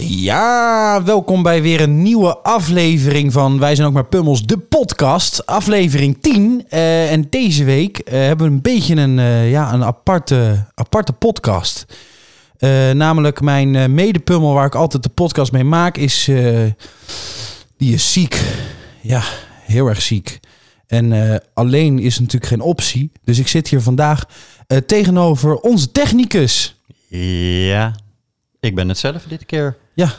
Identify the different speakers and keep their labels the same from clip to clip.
Speaker 1: Ja, welkom bij weer een nieuwe aflevering van Wij zijn ook maar Pummels, de podcast. Aflevering 10. Eh, en deze week eh, hebben we een beetje een, eh, ja, een aparte, aparte podcast. Eh, namelijk mijn eh, medepummel waar ik altijd de podcast mee maak is... eh, die is ziek. Ja, heel erg ziek. En eh, alleen is natuurlijk geen optie. Dus ik zit hier vandaag eh, tegenover onze technicus...
Speaker 2: Ja, ik ben het zelf dit keer.
Speaker 1: Ja,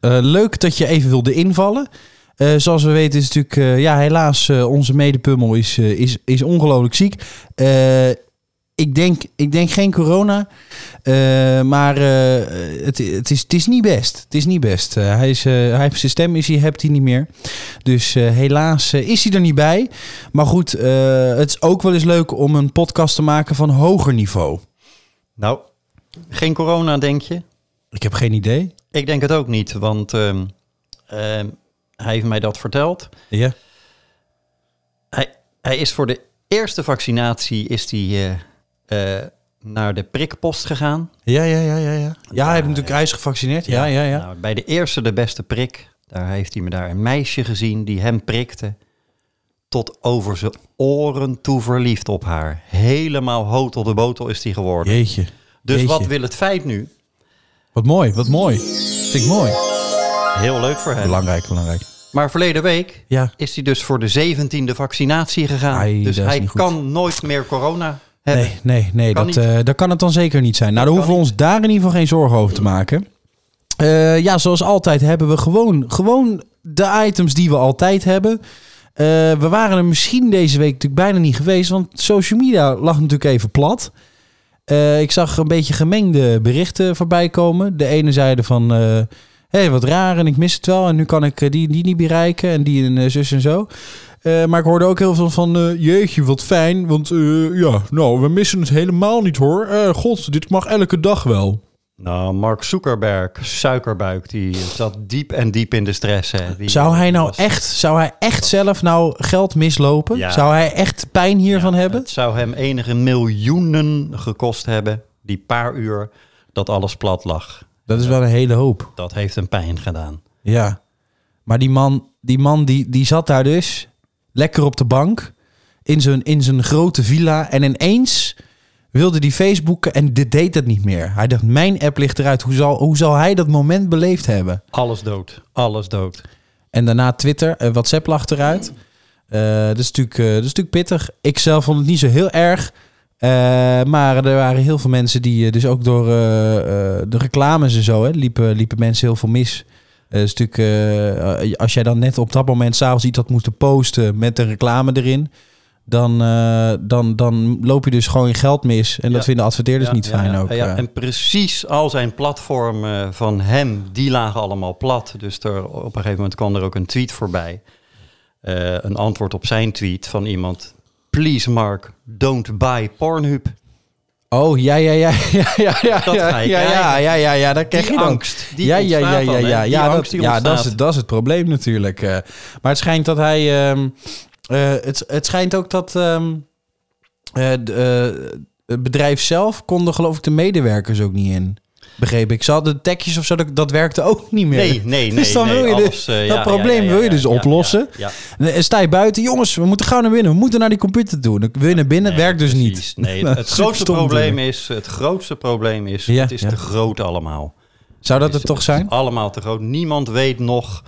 Speaker 1: eh, leuk dat je even wilde invallen. Eh, zoals we weten is natuurlijk, eh, ja, helaas, eh, onze medepummel is, eh, is, is ongelooflijk ziek. Eh, ik, denk, ik denk geen corona, Eh, maar eh, het, het, is, het is niet best. Het is niet best. Eh, hij is, eh, hij heeft zijn stem, is hij, hebt hij niet meer. Dus eh, helaas eh, is hij er niet bij. Maar goed, eh, het is ook wel eens leuk om een podcast te maken van hoger niveau.
Speaker 2: Nou, geen corona, denk je?
Speaker 1: Ik heb geen idee.
Speaker 2: Ik denk het ook niet, want ehm, ehm, hij heeft mij dat verteld.
Speaker 1: Ja.
Speaker 2: Hij, hij is voor de eerste vaccinatie is hij, eh, eh, naar de prikpost gegaan.
Speaker 1: Ja, ja, ja, ja. Ja, ja, hij, heeft natuurlijk, hij is gevaccineerd. Ja, ja, ja.
Speaker 2: Nou, bij de eerste de beste prik, daar heeft hij me daar een meisje gezien die hem prikte. Tot over zijn oren toe verliefd op haar. Helemaal hoot tot de botel is hij geworden.
Speaker 1: Jeetje.
Speaker 2: Dus
Speaker 1: Jeetje.
Speaker 2: wat wil het feit nu?
Speaker 1: Wat mooi, wat mooi. Vind ik mooi.
Speaker 2: Heel leuk voor hem.
Speaker 1: Belangrijk, belangrijk.
Speaker 2: Maar verleden week
Speaker 1: Ja.
Speaker 2: is hij dus voor de zeventiende vaccinatie gegaan.
Speaker 1: Ai,
Speaker 2: dus
Speaker 1: dat is
Speaker 2: hij
Speaker 1: niet goed.
Speaker 2: kan nooit meer corona hebben.
Speaker 1: Nee, nee, nee.
Speaker 2: Kan
Speaker 1: dat,
Speaker 2: niet.
Speaker 1: eh, dat kan het dan zeker niet zijn. Nou, dan hoeven we ons daar in ieder geval geen zorgen over te maken. Eh, ja, zoals altijd hebben we gewoon, gewoon de items die we altijd hebben. Eh, we waren er misschien deze week natuurlijk bijna niet geweest, want social media lag natuurlijk even plat. Eh, ik zag een beetje gemengde berichten voorbij komen. De ene zeiden van, hé, hey, wat raar en ik mis het wel. En nu kan ik eh, die en die niet bereiken en die en eh, zus en zo. Eh, maar ik hoorde ook heel veel van, eh, jeetje, wat fijn. Want eh, ja, nou, we missen het helemaal niet hoor. Eh, God, dit mag elke dag wel.
Speaker 2: Nou, Mark Zuckerberg, suikerbuik, die zat diep en diep in de stress. Hè. Die-
Speaker 1: Zou hij
Speaker 2: die
Speaker 1: nou
Speaker 2: was-
Speaker 1: echt, zou hij echt zelf nou geld mislopen?
Speaker 2: Ja.
Speaker 1: Zou hij echt pijn hiervan hebben?
Speaker 2: Het zou hem enige miljoenen gekost hebben, die paar uur dat alles plat lag.
Speaker 1: Dat is wel een hele hoop.
Speaker 2: Dat heeft hem pijn gedaan.
Speaker 1: Ja. Maar die man, die, man die, die zat daar dus lekker op de bank in zijn, in zijn grote villa. En ineens wilde die Facebooken en dit deed dat niet meer. Hij dacht, mijn app ligt eruit. Hoe zal, hoe zal hij dat moment beleefd hebben?
Speaker 2: Alles dood, alles dood.
Speaker 1: En daarna Twitter, en WhatsApp lag eruit.
Speaker 2: Mm.
Speaker 1: Eh, dat, is natuurlijk, eh, dat is natuurlijk pittig. Ik zelf vond het niet zo heel erg. Eh, maar er waren heel veel mensen die, eh, dus ook door eh, eh, de reclames en zo, hè, liepen, liepen mensen heel veel mis. Eh, dat is natuurlijk, eh, eh, als jij dan net op dat moment s'avonds iets had moeten posten met de reclame erin, dan, eh, dan, dan loop je dus gewoon je geld mis. En dat
Speaker 2: Ja.
Speaker 1: vinden adverteerders
Speaker 2: Ja,
Speaker 1: niet
Speaker 2: ja,
Speaker 1: fijn
Speaker 2: ja,
Speaker 1: ook.
Speaker 2: ja.
Speaker 1: eh.
Speaker 2: En precies al zijn platformen van hem, die lagen allemaal plat. Dus er, op een gegeven moment kwam er ook een tweet voorbij. Eh, een antwoord op zijn tweet van iemand. Please Mark, don't buy Pornhub.
Speaker 1: Oh, ja, ja, ja, ja, ja, ja,
Speaker 2: Dat
Speaker 1: ja,
Speaker 2: ga je
Speaker 1: ja, ja,
Speaker 2: krijgen.
Speaker 1: ja, ja, ja, dat krijg
Speaker 2: Die
Speaker 1: je dan.
Speaker 2: angst, die
Speaker 1: ja, ja, ja,
Speaker 2: ontstaat
Speaker 1: ja,
Speaker 2: dan, hè?
Speaker 1: ja,
Speaker 2: Die
Speaker 1: ja, dat,
Speaker 2: angst die
Speaker 1: ja, dat is,
Speaker 2: ontstaat.
Speaker 1: het, dat is het probleem natuurlijk. eh. maar het schijnt dat hij, ehm, eh, het, het schijnt ook dat ehm, eh, d- eh, het bedrijf zelf konden geloof ik de medewerkers ook niet in. Begreep ik. Ze hadden tekjes of zo, dat, dat werkte ook niet meer.
Speaker 2: Nee, nee, nee.
Speaker 1: Dus dan
Speaker 2: nee,
Speaker 1: wil je
Speaker 2: alles,
Speaker 1: dus,
Speaker 2: eh,
Speaker 1: dat
Speaker 2: ja,
Speaker 1: probleem
Speaker 2: ja, ja,
Speaker 1: wil je
Speaker 2: ja,
Speaker 1: dus
Speaker 2: ja,
Speaker 1: oplossen.
Speaker 2: Ja, ja.
Speaker 1: En eh, Sta je buiten, jongens, we moeten gauw naar binnen. We moeten naar die computer toe. Dan wil je naar binnen,
Speaker 2: Nee,
Speaker 1: werkt dus
Speaker 2: precies.
Speaker 1: niet.
Speaker 2: Nee,
Speaker 1: Nou,
Speaker 2: het, het grootste
Speaker 1: superstom
Speaker 2: probleem
Speaker 1: natuurlijk.
Speaker 2: is, het grootste probleem is,
Speaker 1: Ja,
Speaker 2: het is
Speaker 1: ja.
Speaker 2: te groot allemaal.
Speaker 1: Zou dat het
Speaker 2: is-
Speaker 1: toch zijn?
Speaker 2: Allemaal te groot. Niemand weet nog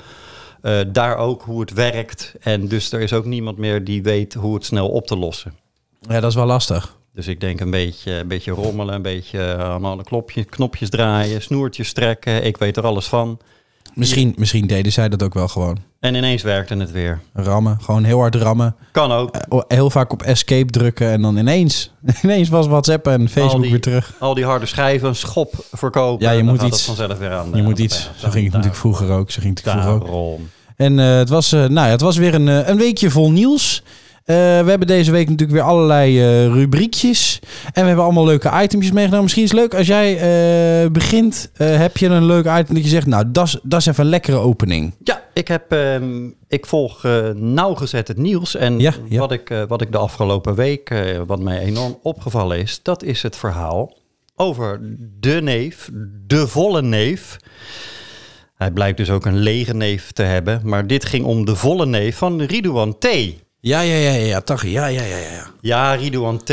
Speaker 2: eh, daar ook hoe het werkt. En dus er is ook niemand meer die weet hoe het snel op te lossen.
Speaker 1: Ja, dat is wel lastig.
Speaker 2: Dus ik denk een beetje, een beetje rommelen, een beetje eh, aan alle klopje, knopjes draaien, snoertjes trekken. Ik weet er alles van.
Speaker 1: Misschien, misschien deden zij dat ook wel gewoon.
Speaker 2: En ineens werkte het weer.
Speaker 1: Rammen, gewoon heel hard rammen.
Speaker 2: Kan ook.
Speaker 1: Eh, Heel vaak op escape drukken en dan ineens, ineens was WhatsApp en Facebook
Speaker 2: Al die-
Speaker 1: weer terug.
Speaker 2: Al die harde schijven, een schop verkopen.
Speaker 1: Ja, je
Speaker 2: dan
Speaker 1: moet
Speaker 2: gaat
Speaker 1: iets.
Speaker 2: het vanzelf weer aan. de-
Speaker 1: Je moet
Speaker 2: aan de
Speaker 1: iets.
Speaker 2: pijl.
Speaker 1: Zo ging het natuurlijk vroeger ook. Zo ging het vroeger ook.
Speaker 2: Daarom.
Speaker 1: En eh, het, was, eh, nou ja, het was weer een, eh, een weekje vol nieuws. Eh, we hebben deze week natuurlijk weer allerlei eh, rubriekjes. En we hebben allemaal leuke itempjes meegenomen. Misschien is het leuk als jij eh, begint. eh, heb je een leuk item dat je zegt, nou, dat is- dat is even een lekkere opening.
Speaker 2: Ja, ik, heb, ehm, ik volg eh, nauwgezet het nieuws. En
Speaker 1: Ja, ja.
Speaker 2: Wat, ik, eh, wat ik de afgelopen week, eh, wat mij enorm opgevallen is, dat is het verhaal over de neef, de volle neef. Hij blijkt dus ook een lege neef te hebben. Maar dit ging om de volle neef van Ridouan T.
Speaker 1: Ja, ja, ja, ja, ja, Taghi, ja, ja, ja, ja.
Speaker 2: Ja, Ridouan T.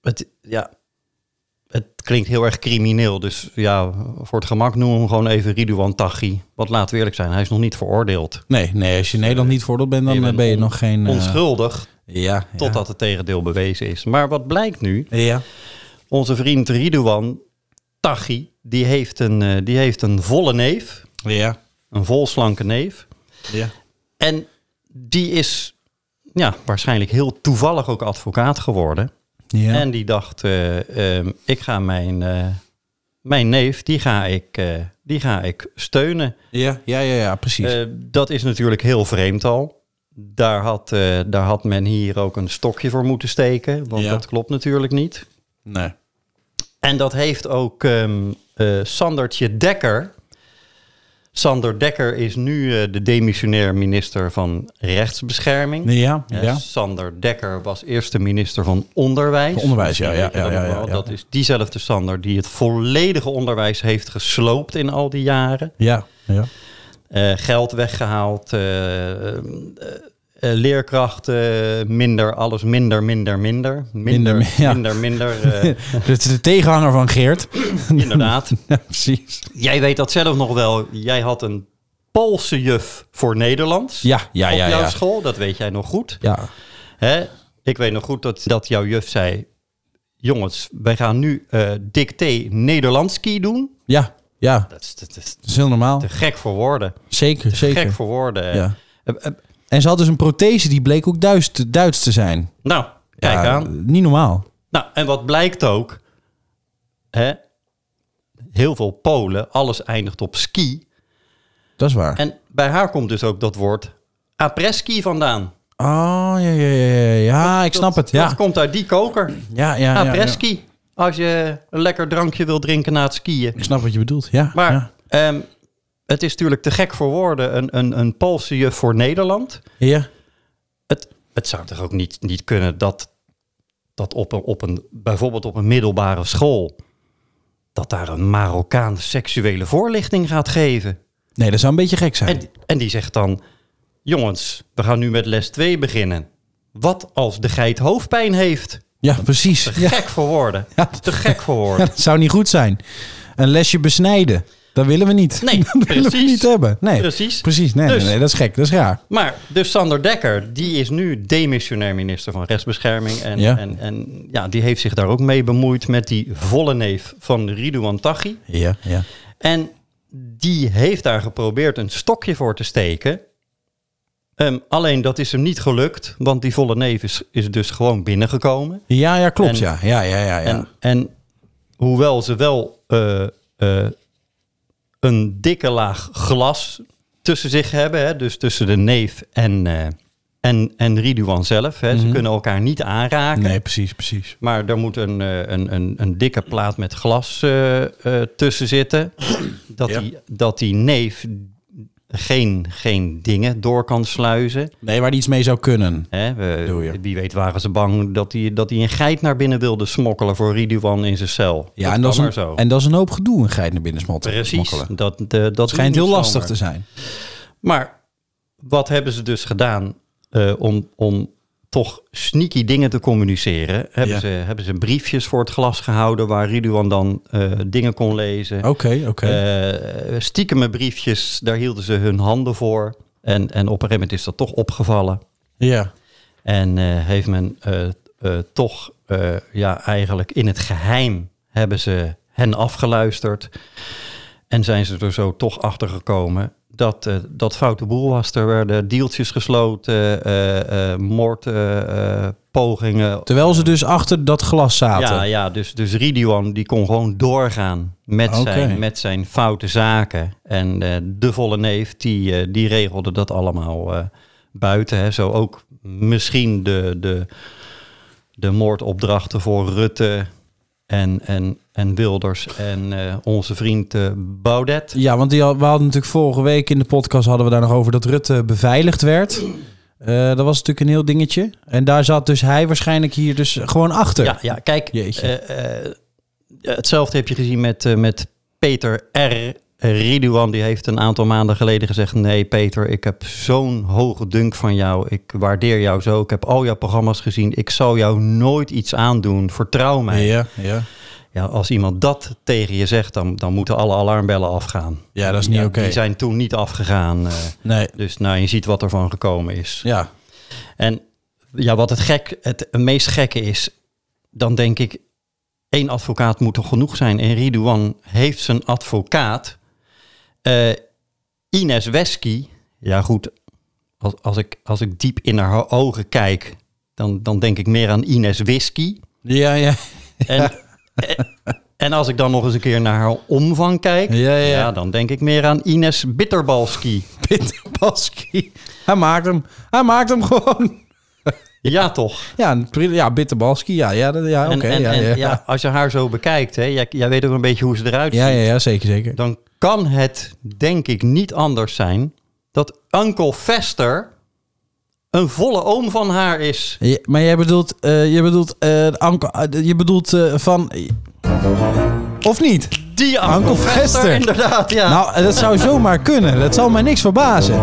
Speaker 2: Het, ja, het klinkt heel erg crimineel. Dus ja, voor het gemak noemen we hem gewoon even Ridouan Taghi. Want laten we eerlijk zijn, hij is nog niet veroordeeld.
Speaker 1: Nee, nee, als je in Nederland niet voordeel bent, dan
Speaker 2: Je
Speaker 1: eh,
Speaker 2: bent
Speaker 1: ben je
Speaker 2: on-
Speaker 1: nog geen... eh,
Speaker 2: Onschuldig,
Speaker 1: Ja, ja.
Speaker 2: totdat het tegendeel bewezen is. Maar wat blijkt nu?
Speaker 1: Ja.
Speaker 2: Onze vriend Ridouan Taghi, die heeft een, eh, die heeft een volle neef.
Speaker 1: Ja.
Speaker 2: Een volslanke neef.
Speaker 1: Ja.
Speaker 2: En die is ja, waarschijnlijk heel toevallig ook advocaat geworden.
Speaker 1: Ja.
Speaker 2: En die dacht, eh, ehm, ik ga mijn, eh, mijn neef, die ga ik, eh, die ga ik steunen.
Speaker 1: ja, ja, ja, ja, precies.
Speaker 2: Eh, dat is natuurlijk heel vreemd al. Daar had, eh, daar had men hier ook een stokje voor moeten steken, want
Speaker 1: Ja.
Speaker 2: dat klopt natuurlijk niet.
Speaker 1: nee.
Speaker 2: En dat heeft ook ehm, eh, Sandertje Dekker. Sander Dekker is nu eh, de demissionair minister van Rechtsbescherming.
Speaker 1: Ja,
Speaker 2: Hè,
Speaker 1: ja.
Speaker 2: Sander Dekker was eerste minister van Onderwijs.
Speaker 1: Onderwijs, ja, ja, ja, ja, ja, ja.
Speaker 2: Dat is diezelfde Sander die het volledige onderwijs heeft gesloopt in al die jaren.
Speaker 1: Ja, ja.
Speaker 2: Eh, geld weggehaald, eh, eh, eh, leerkrachten minder, alles minder, minder, minder. Minder,
Speaker 1: Minder,
Speaker 2: minder,
Speaker 1: ja.
Speaker 2: minder, eh,
Speaker 1: Dat is de tegenhanger van Geert.
Speaker 2: inderdaad.
Speaker 1: Ja, precies.
Speaker 2: Jij weet dat zelf nog wel. Jij had een Poolse juf voor Nederlands
Speaker 1: Ja, ja, ja,
Speaker 2: op jouw
Speaker 1: ja.
Speaker 2: school. Dat weet jij nog goed.
Speaker 1: Ja,
Speaker 2: Hè? Ik weet nog goed dat, dat jouw juf zei... Jongens, wij gaan nu eh dicté Nederlandski doen.
Speaker 1: ja, ja. Dat
Speaker 2: Dat is, dat is
Speaker 1: is heel normaal.
Speaker 2: te gek voor woorden.
Speaker 1: Zeker,
Speaker 2: Gek
Speaker 1: zeker.
Speaker 2: voor woorden. hè.
Speaker 1: Ja.
Speaker 2: Eh, eh,
Speaker 1: En ze had dus een prothese die bleek ook Duits te, Duits te zijn.
Speaker 2: nou, kijk
Speaker 1: Ja,
Speaker 2: aan.
Speaker 1: Niet normaal.
Speaker 2: Nou, en wat blijkt ook... Hè? Heel veel Polen, alles eindigt op ski.
Speaker 1: Dat is waar.
Speaker 2: En bij haar komt dus ook dat woord apreski vandaan.
Speaker 1: Oh, ja, ja, ja, ja. Ja, ik snap het.
Speaker 2: Dat
Speaker 1: Ja,
Speaker 2: komt uit die koker.
Speaker 1: ja, ja. ja, ja.
Speaker 2: Apreski. Als je een lekker drankje wil drinken na het skiën.
Speaker 1: Ik snap wat je bedoelt. Ja,
Speaker 2: Maar
Speaker 1: ja.
Speaker 2: ehm, het is natuurlijk te gek voor woorden. Een, een, een Poolse juf voor Nederland.
Speaker 1: ja.
Speaker 2: Het, het zou toch ook niet, niet kunnen dat, dat op een, op een, bijvoorbeeld op een middelbare school... dat daar een Marokkaan seksuele voorlichting gaat geven.
Speaker 1: Nee, dat zou een beetje gek zijn.
Speaker 2: En, en die zegt dan... jongens, we gaan nu met les 2 beginnen. Wat als de geit hoofdpijn heeft?
Speaker 1: Ja, precies.
Speaker 2: Te
Speaker 1: Ja,
Speaker 2: gek voor woorden.
Speaker 1: Ja.
Speaker 2: Te gek voor woorden.
Speaker 1: dat zou niet goed zijn. Een lesje besnijden. Dat willen we niet.
Speaker 2: Nee,
Speaker 1: dat willen we
Speaker 2: precies.
Speaker 1: niet hebben. Nee,
Speaker 2: Precies.
Speaker 1: Precies. Nee,
Speaker 2: Dus-
Speaker 1: nee, nee, dat is gek. Dat is raar.
Speaker 2: Maar dus Sander Dekker, die is nu demissionair minister van Rechtsbescherming. En
Speaker 1: Ja.
Speaker 2: ja, en, en, ja die heeft zich daar ook mee bemoeid met die volle neef van Ridouan Taghi.
Speaker 1: Ja, ja.
Speaker 2: En die heeft daar geprobeerd een stokje voor te steken. Ehm, alleen dat is hem niet gelukt, want die volle neef is, is dus gewoon binnengekomen.
Speaker 1: Ja, ja, klopt.
Speaker 2: En-
Speaker 1: ja, ja, ja, ja. ja.
Speaker 2: En, en hoewel ze wel eh, eh, een dikke laag glas tussen zich hebben, hè, dus tussen de neef en, eh en, en Ridouan zelf, hè, ze kunnen elkaar niet aanraken.
Speaker 1: nee, precies, precies.
Speaker 2: Maar er moet een, eh, een, een, een dikke plaat met glas eh, eh, tussen zitten. Dat,
Speaker 1: Ja.
Speaker 2: die, dat die neef geen, geen dingen door kan sluizen.
Speaker 1: Nee, waar die iets mee zou kunnen.
Speaker 2: Hè, we-
Speaker 1: Bedoel je?
Speaker 2: wie weet waren ze bang dat hij dat die een geit naar binnen wilde smokkelen voor Ridouan in zijn cel.
Speaker 1: Ja, en, dat is
Speaker 2: kan
Speaker 1: een,
Speaker 2: maar zo.
Speaker 1: en dat is een hoop gedoe, een geit naar binnen smotten.
Speaker 2: Precies.
Speaker 1: smokkelen.
Speaker 2: Dat, eh, dat doe
Speaker 1: Het schijnt
Speaker 2: je
Speaker 1: heel
Speaker 2: niet
Speaker 1: lastig
Speaker 2: zomaar.
Speaker 1: te zijn.
Speaker 2: Maar wat hebben ze dus gedaan eh, om, om toch sneaky dingen te communiceren? Hebben,
Speaker 1: Ja.
Speaker 2: ze, hebben ze briefjes voor het glas gehouden waar Ridouan dan eh, dingen kon lezen?
Speaker 1: Oké, oké.
Speaker 2: Eh, stiekeme briefjes, daar hielden ze hun handen voor. En, en op een gegeven moment is dat toch opgevallen.
Speaker 1: ja.
Speaker 2: En eh, heeft men eh, eh, toch eh, ja, eigenlijk in het geheim hebben ze hen afgeluisterd. En zijn ze er zo toch achter gekomen dat eh, dat foute boel was. Er werden deeltjes gesloten, eh, moordpogingen. eh,
Speaker 1: Terwijl ze dus achter dat glas zaten.
Speaker 2: ja, ja, dus, dus Ridouan die kon gewoon doorgaan met,
Speaker 1: Oké.
Speaker 2: zijn, met zijn foute zaken. En eh, de volle neef die, eh, die regelde dat allemaal eh, buiten. Hè. Zo ook misschien de, de, de moordopdrachten voor Rutte en, en, en Wilders en eh, onze vriend eh, Baudet.
Speaker 1: Ja, want die had- we hadden natuurlijk vorige week in de podcast hadden we daar nog over dat Rutte beveiligd werd. Eh, dat was natuurlijk een heel dingetje. En daar zat dus hij waarschijnlijk hier dus gewoon achter.
Speaker 2: Ja, ja kijk,
Speaker 1: Jeetje.
Speaker 2: eh, eh, hetzelfde heb je gezien met, eh, met Peter R. Ridouan die heeft een aantal maanden geleden gezegd... nee Peter, ik heb zo'n hoge dunk van jou. Ik waardeer jou zo. Ik heb al jouw programma's gezien. Ik zal jou nooit iets aandoen. Vertrouw mij.
Speaker 1: Ja, ja.
Speaker 2: Ja, als iemand dat tegen je zegt, dan, dan moeten alle alarmbellen afgaan.
Speaker 1: Ja, dat is niet
Speaker 2: Ja,
Speaker 1: oké.
Speaker 2: Die zijn toen niet afgegaan. eh,
Speaker 1: Nee.
Speaker 2: dus nou, je ziet wat er van gekomen is.
Speaker 1: Ja.
Speaker 2: En ja, wat het, gek, het meest gekke is, dan denk ik, één advocaat moet toch genoeg zijn. En Ridouan heeft zijn advocaat, eh, Ines Wesky. Ja goed, als, als, ik, als ik diep in haar ho- ogen kijk, dan, dan denk ik meer aan Ines Whisky.
Speaker 1: Ja, ja.
Speaker 2: En, eh, en als ik dan nog eens een keer naar haar omvang kijk,
Speaker 1: Ja, ja.
Speaker 2: dan denk ik meer aan Ines Bitterbalski.
Speaker 1: Peter Balski. Hij maakt hem. Hij maakt hem gewoon.
Speaker 2: Ja toch?
Speaker 1: Ja, een pri- ja Bitter Balski. Ja, ja, dat- ja oké.
Speaker 2: En, en,
Speaker 1: ja,
Speaker 2: en
Speaker 1: ja.
Speaker 2: ja.
Speaker 1: Ja.
Speaker 2: als je haar zo bekijkt, hè, jij, jij weet ook een beetje hoe ze eruit
Speaker 1: Ja,
Speaker 2: ziet.
Speaker 1: ja, zeker, zeker.
Speaker 2: Dan kan het denk ik niet anders zijn dat Uncle Fester een volle oom van haar is.
Speaker 1: Ja, maar jij bedoelt, eh, je bedoelt, eh, Anko- eh, je bedoelt eh, van... Of niet?
Speaker 2: Die Uncle,
Speaker 1: Uncle
Speaker 2: Fester,
Speaker 1: Fester.
Speaker 2: inderdaad. Ja.
Speaker 1: Nou, eh, dat zou zomaar kunnen. Dat zou mij niks verbazen.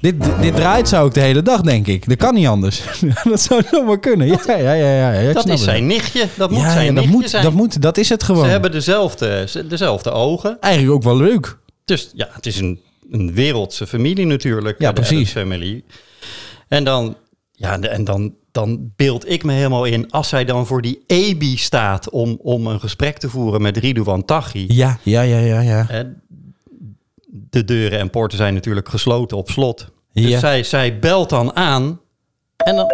Speaker 1: Dit, dit, dit draait zou ik de hele dag, denk ik. Dat kan niet anders. dat zou zomaar kunnen. Ja, ja, ja. ja, ja ik
Speaker 2: dat
Speaker 1: snap
Speaker 2: is
Speaker 1: het.
Speaker 2: zijn nichtje. Dat moet
Speaker 1: Ja,
Speaker 2: zijn
Speaker 1: ja, dat,
Speaker 2: nichtje
Speaker 1: moet,
Speaker 2: zijn.
Speaker 1: dat moet. Dat is het
Speaker 2: Ze
Speaker 1: gewoon.
Speaker 2: hebben dezelfde, ze- dezelfde ogen.
Speaker 1: Eigenlijk ook wel leuk.
Speaker 2: Dus ja, het is een, een wereldse familie natuurlijk.
Speaker 1: Ja,
Speaker 2: de Addams
Speaker 1: precies.
Speaker 2: Family. En dan, ja, de- en dan, dan beeld ik me helemaal in als zij dan voor die EBI staat om, om een gesprek te voeren met Ridouan Taghi.
Speaker 1: Ja, ja, ja, ja. ja.
Speaker 2: Eh, De deuren en poorten zijn natuurlijk gesloten op slot. Dus
Speaker 1: Ja.
Speaker 2: zij, zij belt dan aan en dan,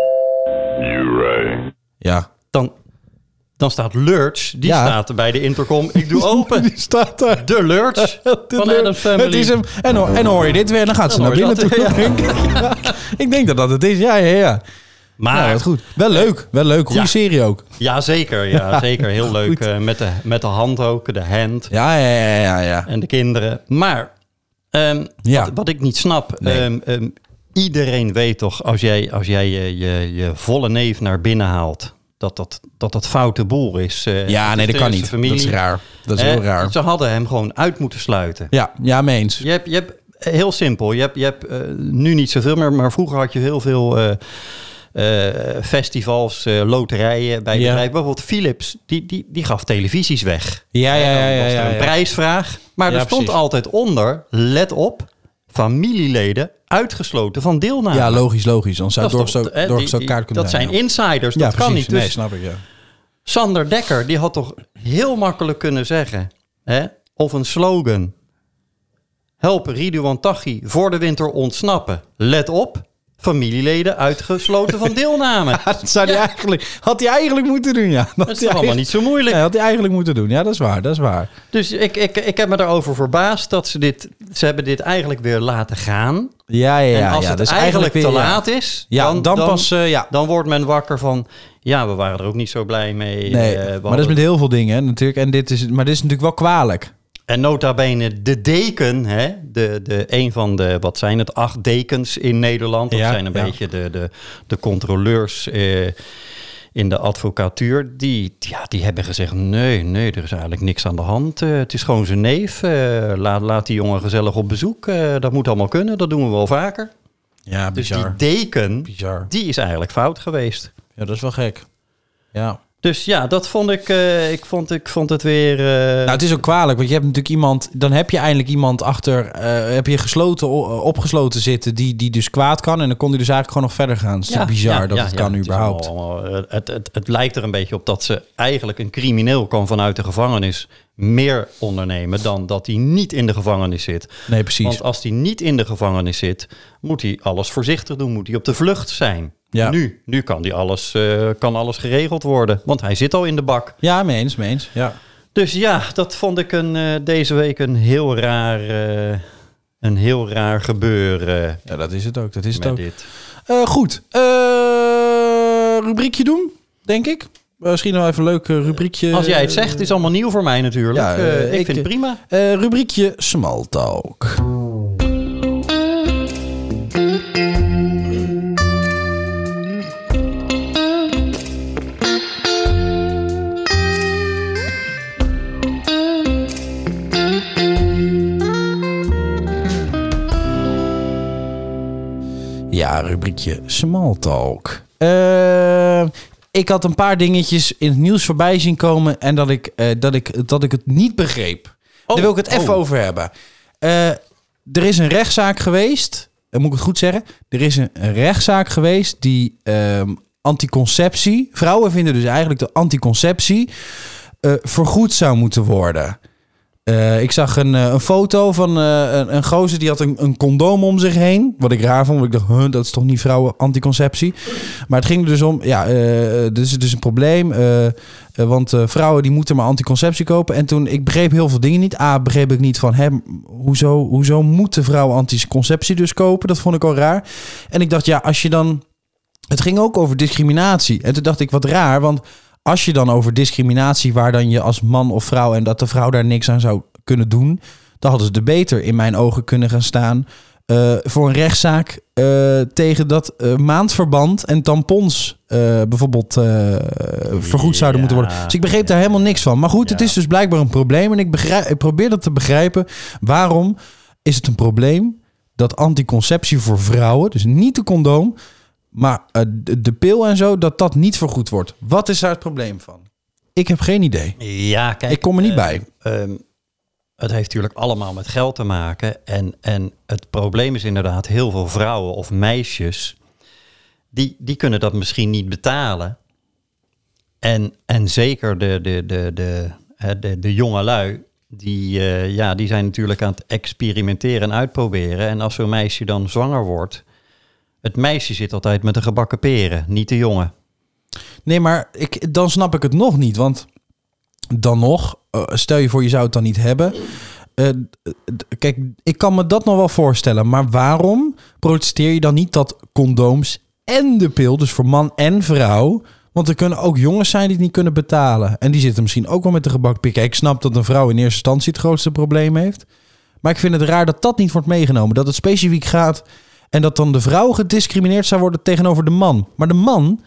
Speaker 3: You rang.
Speaker 1: ja.
Speaker 2: dan, dan staat Lurch, die
Speaker 1: Ja.
Speaker 2: staat bij de intercom, ik doe open.
Speaker 1: Die staat daar.
Speaker 2: De Lurch van
Speaker 1: Leuk.
Speaker 2: Adam's Family.
Speaker 1: Het is hem. En, hoor, en hoor je dit weer, dan gaat ze
Speaker 2: Dan
Speaker 1: naar
Speaker 2: hoor
Speaker 1: binnen toe.
Speaker 2: je dat,
Speaker 1: denk ik. Ja. ik denk dat dat het is. Ja, ja, ja.
Speaker 2: Maar
Speaker 1: Nou, wat goed. Wel leuk. Wel leuk. Goede
Speaker 2: Ja.
Speaker 1: serie ook.
Speaker 2: Ja, zeker. Ja, zeker. Heel leuk. eh, met, de, met de hand ook, de hand
Speaker 1: Ja, ja, ja, ja. ja.
Speaker 2: en de kinderen. Maar ehm,
Speaker 1: Ja.
Speaker 2: wat, wat ik niet snap,
Speaker 1: Nee.
Speaker 2: ehm, ehm, iedereen weet toch, als jij, als jij je, je, je volle neef naar binnen haalt, dat dat, dat, dat foute boel is. eh,
Speaker 1: Ja, nee,
Speaker 2: de
Speaker 1: dat kan niet.
Speaker 2: eerste familie.
Speaker 1: Dat is raar. Dat is
Speaker 2: Eh,
Speaker 1: heel raar.
Speaker 2: Ze hadden hem gewoon uit moeten sluiten.
Speaker 1: Ja, ja, mee eens.
Speaker 2: Je hebt, je hebt heel simpel. Je hebt, je hebt eh, nu niet zoveel meer, maar vroeger had je heel veel eh, eh, festivals, eh, loterijen bij
Speaker 1: Ja.
Speaker 2: bedrijven. Bijvoorbeeld Philips, die, die, die gaf televisies weg.
Speaker 1: Ja, ja, ja,
Speaker 2: Dan
Speaker 1: ja.
Speaker 2: was er
Speaker 1: ja,
Speaker 2: een
Speaker 1: ja.
Speaker 2: prijsvraag. Maar
Speaker 1: Ja,
Speaker 2: er stond
Speaker 1: precies.
Speaker 2: altijd onder, let op, familieleden uitgesloten van deelname.
Speaker 1: Ja, logisch, logisch. Anders zou
Speaker 2: Dat
Speaker 1: door
Speaker 2: is toch- hè, die-
Speaker 1: zo'n
Speaker 2: die-
Speaker 1: kaart kunnen
Speaker 2: Dat zijn
Speaker 1: ja.
Speaker 2: insiders,
Speaker 1: Ja,
Speaker 2: dat kan
Speaker 1: precies.
Speaker 2: niet. Dus
Speaker 1: Nee, snap ik, ja.
Speaker 2: Sander Dekker, die had toch heel makkelijk kunnen zeggen, hè? of een slogan. Help Ridouan Taghi voor de winter ontsnappen. Let op, familieleden uitgesloten van deelname.
Speaker 1: Dat zou die eigenlijk, had hij eigenlijk moeten doen, ja.
Speaker 2: Dat is toch allemaal niet zo moeilijk.
Speaker 1: Ja, had hij eigenlijk moeten doen. Ja, dat is waar, dat is waar.
Speaker 2: Dus ik, ik, ik heb me daarover verbaasd dat ze dit... Ze hebben dit eigenlijk weer laten gaan.
Speaker 1: Ja, ja, ja.
Speaker 2: en als
Speaker 1: ja, dus
Speaker 2: het
Speaker 1: dat is
Speaker 2: eigenlijk,
Speaker 1: weer-
Speaker 2: te
Speaker 1: ja.
Speaker 2: laat is...
Speaker 1: Ja, dan, pas, eh, ja.
Speaker 2: Dan wordt men wakker van... Ja, we waren er ook niet zo blij mee.
Speaker 1: Nee,
Speaker 2: eh, we
Speaker 1: maar dat is
Speaker 2: hadden-
Speaker 1: met heel veel dingen hè, natuurlijk. En dit is, maar dit is natuurlijk wel kwalijk.
Speaker 2: En nota bene de deken, hè? De, de, een van de, wat zijn het, acht dekens in Nederland. Dat
Speaker 1: Ja,
Speaker 2: zijn een
Speaker 1: ja.
Speaker 2: beetje de, de, de controleurs eh, in de advocatuur. Die, ja, die hebben gezegd, nee, nee, er is eigenlijk niks aan de hand. Eh, het is gewoon zijn neef. Eh, laat, laat die jongen gezellig op bezoek. Eh, dat moet allemaal kunnen, dat doen we wel vaker.
Speaker 1: Ja,
Speaker 2: Dus die deken,
Speaker 1: Bizar.
Speaker 2: die is eigenlijk fout geweest.
Speaker 1: Ja, dat is wel gek. Ja.
Speaker 2: Dus ja, dat vond ik, eh, ik, vond, ik vond het weer... eh,
Speaker 1: Nou, het is ook kwalijk, want je hebt natuurlijk iemand... Dan heb je eindelijk iemand achter... eh, heb je gesloten, o- eh, opgesloten zitten die, die dus kwaad kan. En dan kon hij dus eigenlijk gewoon nog verder gaan. Het is
Speaker 2: Ja,
Speaker 1: natuurlijk bizar
Speaker 2: ja,
Speaker 1: dat
Speaker 2: ja,
Speaker 1: het
Speaker 2: ja,
Speaker 1: kan
Speaker 2: is
Speaker 1: überhaupt.
Speaker 2: allemaal- allemaal- eh, het, het, het lijkt er een beetje op dat ze eigenlijk een crimineel kan vanuit de gevangenis meer ondernemen dan dat hij niet in de gevangenis zit.
Speaker 1: Nee, precies.
Speaker 2: Want als hij niet in de gevangenis zit, moet hij alles voorzichtig doen, moet hij op de vlucht zijn.
Speaker 1: Ja.
Speaker 2: Nu, nu kan, die alles, eh, kan alles geregeld worden, want hij zit al in de bak.
Speaker 1: Ja, mee eens, mee eens. Ja.
Speaker 2: Dus ja, dat vond ik een, eh, deze week een heel raar, eh, een heel raar gebeuren
Speaker 1: ja, dat is het ook. Dat is het
Speaker 2: met
Speaker 1: ook.
Speaker 2: dit.
Speaker 1: Eh, goed. Eh, rubriekje doen, denk ik. Misschien nog even een leuk eh, rubriekje.
Speaker 2: Als jij het zegt, is allemaal nieuw voor mij natuurlijk.
Speaker 1: ja,
Speaker 2: Eh,
Speaker 1: eh,
Speaker 2: ik,
Speaker 1: ik-
Speaker 2: vind het prima.
Speaker 1: Eh, rubriekje Smalltalk. rubriekje Small Talk. Eh, ik had een paar dingetjes in het nieuws voorbij zien komen en dat ik, eh, dat ik, dat ik het niet begreep. Daar wil ik het even
Speaker 2: oh.
Speaker 1: over hebben. Eh, er is een rechtszaak geweest, eh, moet ik het goed zeggen? Er is een, een rechtszaak geweest die ehm, anticonceptie, vrouwen vinden dus eigenlijk de anticonceptie, eh, vergoed zou moeten worden. Eh, ik zag een, eh, een foto van eh, een, een gozer die had een, een condoom om zich heen. Wat ik raar vond, want ik dacht, huh, dat is toch niet vrouwen anticonceptie. Maar het ging er dus om, ja, eh, eh, dit is dus een probleem. eh, eh, want eh, vrouwen die moeten maar anticonceptie kopen. En toen, ik begreep heel veel dingen niet. A, begreep ik niet van, hè, hoezo, hoezo moeten vrouwen anticonceptie dus kopen? Dat vond ik al raar. En ik dacht, ja, als je dan... Het ging ook over discriminatie. En toen dacht ik, wat raar, want als je dan over discriminatie, waar dan je als man of vrouw en dat de vrouw daar niks aan zou kunnen doen, dan hadden ze er beter in mijn ogen kunnen gaan staan eh, voor een rechtszaak eh, tegen dat eh, maandverband en tampons eh, bijvoorbeeld eh, vergoed zouden moeten worden. Dus ik begreep daar helemaal niks van. Maar goed, het
Speaker 2: Ja.
Speaker 1: is dus blijkbaar een probleem en ik, begrijp, ik probeer dat te begrijpen. Waarom is het een probleem dat anticonceptie voor vrouwen, dus niet de condoom, maar eh, de, de pil en zo, dat dat niet vergoed wordt. Wat is daar het probleem van? Ik heb geen idee.
Speaker 2: Ja, kijk.
Speaker 1: Ik kom er niet
Speaker 2: eh,
Speaker 1: bij.
Speaker 2: ehm, het heeft natuurlijk allemaal met geld te maken. En, en het probleem is inderdaad heel veel vrouwen of meisjes... die, die kunnen dat misschien niet betalen. En, en zeker de, de, de, de, hè, de, de jonge lui... Die, eh, ja, die zijn natuurlijk aan het experimenteren en uitproberen. En als zo'n meisje dan zwanger wordt... het meisje zit altijd met de gebakken peren, niet de jongen.
Speaker 1: Nee, maar ik, dan snap ik het nog niet. Want dan nog, eh, stel je voor je zou het dan niet hebben. Eh, d- kijk, ik kan me dat nog wel voorstellen. Maar waarom protesteer je dan niet dat condooms en de pil, dus voor man en vrouw... Want er kunnen ook jongens zijn die het niet kunnen betalen. En die zitten misschien ook wel met de gebak pikken. Ik snap dat een vrouw in eerste instantie het grootste probleem heeft. Maar ik vind het raar dat dat niet wordt meegenomen. Dat het specifiek gaat en dat dan de vrouw gediscrimineerd zou worden tegenover de man. Maar de man,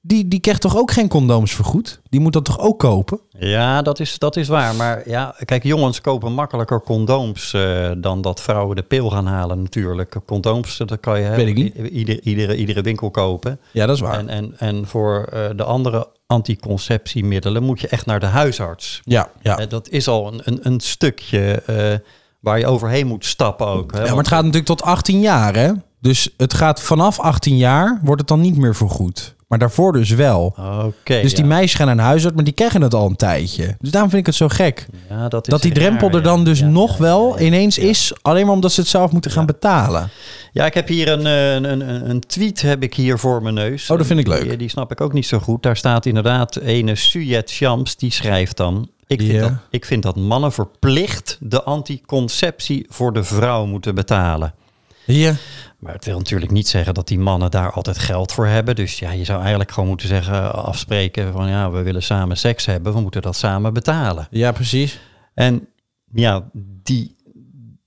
Speaker 1: die, die krijgt toch ook geen condooms vergoed? Die moet dat toch ook kopen?
Speaker 2: Ja, dat is, dat is waar. Maar ja, kijk, jongens kopen makkelijker condooms eh, dan dat vrouwen de pil gaan halen natuurlijk. Condooms, dat kan je
Speaker 1: Weet ik niet.
Speaker 2: i- ieder, iedere, iedere winkel kopen.
Speaker 1: Ja, dat is waar.
Speaker 2: En, en, en voor eh, de andere anticonceptiemiddelen moet je echt naar de huisarts.
Speaker 1: ja, ja.
Speaker 2: Eh, dat is al een, een, een stukje eh, waar je overheen moet stappen ook. Hè?
Speaker 1: ja, maar
Speaker 2: Want-
Speaker 1: het gaat natuurlijk tot 18 jaar, hè? Dus het gaat vanaf 18 jaar wordt het dan niet meer vergoed. Maar daarvoor dus wel.
Speaker 2: Oh, Oké.
Speaker 1: Dus die
Speaker 2: ja.
Speaker 1: meisjes gaan naar een huisarts, maar die krijgen het al een tijdje. Dus daarom vind ik het zo gek.
Speaker 2: Ja, dat, is
Speaker 1: Dat die
Speaker 2: raar,
Speaker 1: drempel er
Speaker 2: ja.
Speaker 1: dan dus
Speaker 2: Ja,
Speaker 1: nog
Speaker 2: ja,
Speaker 1: wel
Speaker 2: ja, ja.
Speaker 1: ineens is, alleen maar omdat ze het zelf moeten gaan betalen.
Speaker 2: Ja, ik heb hier een, eh, een, een, een tweet heb ik hier voor mijn neus.
Speaker 1: Oh, dat vind ik
Speaker 2: Die- eh,
Speaker 1: leuk.
Speaker 2: Die, snap ik ook niet zo goed. Daar staat inderdaad ene Suyet Shams, die schrijft dan... Ik vind,
Speaker 1: Ja.
Speaker 2: dat, ik vind dat mannen verplicht de anticonceptie voor de vrouw moeten betalen.
Speaker 1: Ja.
Speaker 2: Maar het wil natuurlijk niet zeggen dat die mannen daar altijd geld voor hebben. Dus ja, je zou eigenlijk gewoon moeten zeggen, eh, afspreken van... ja, we willen samen seks hebben, we moeten dat samen betalen.
Speaker 1: ja, precies.
Speaker 2: En ja, die,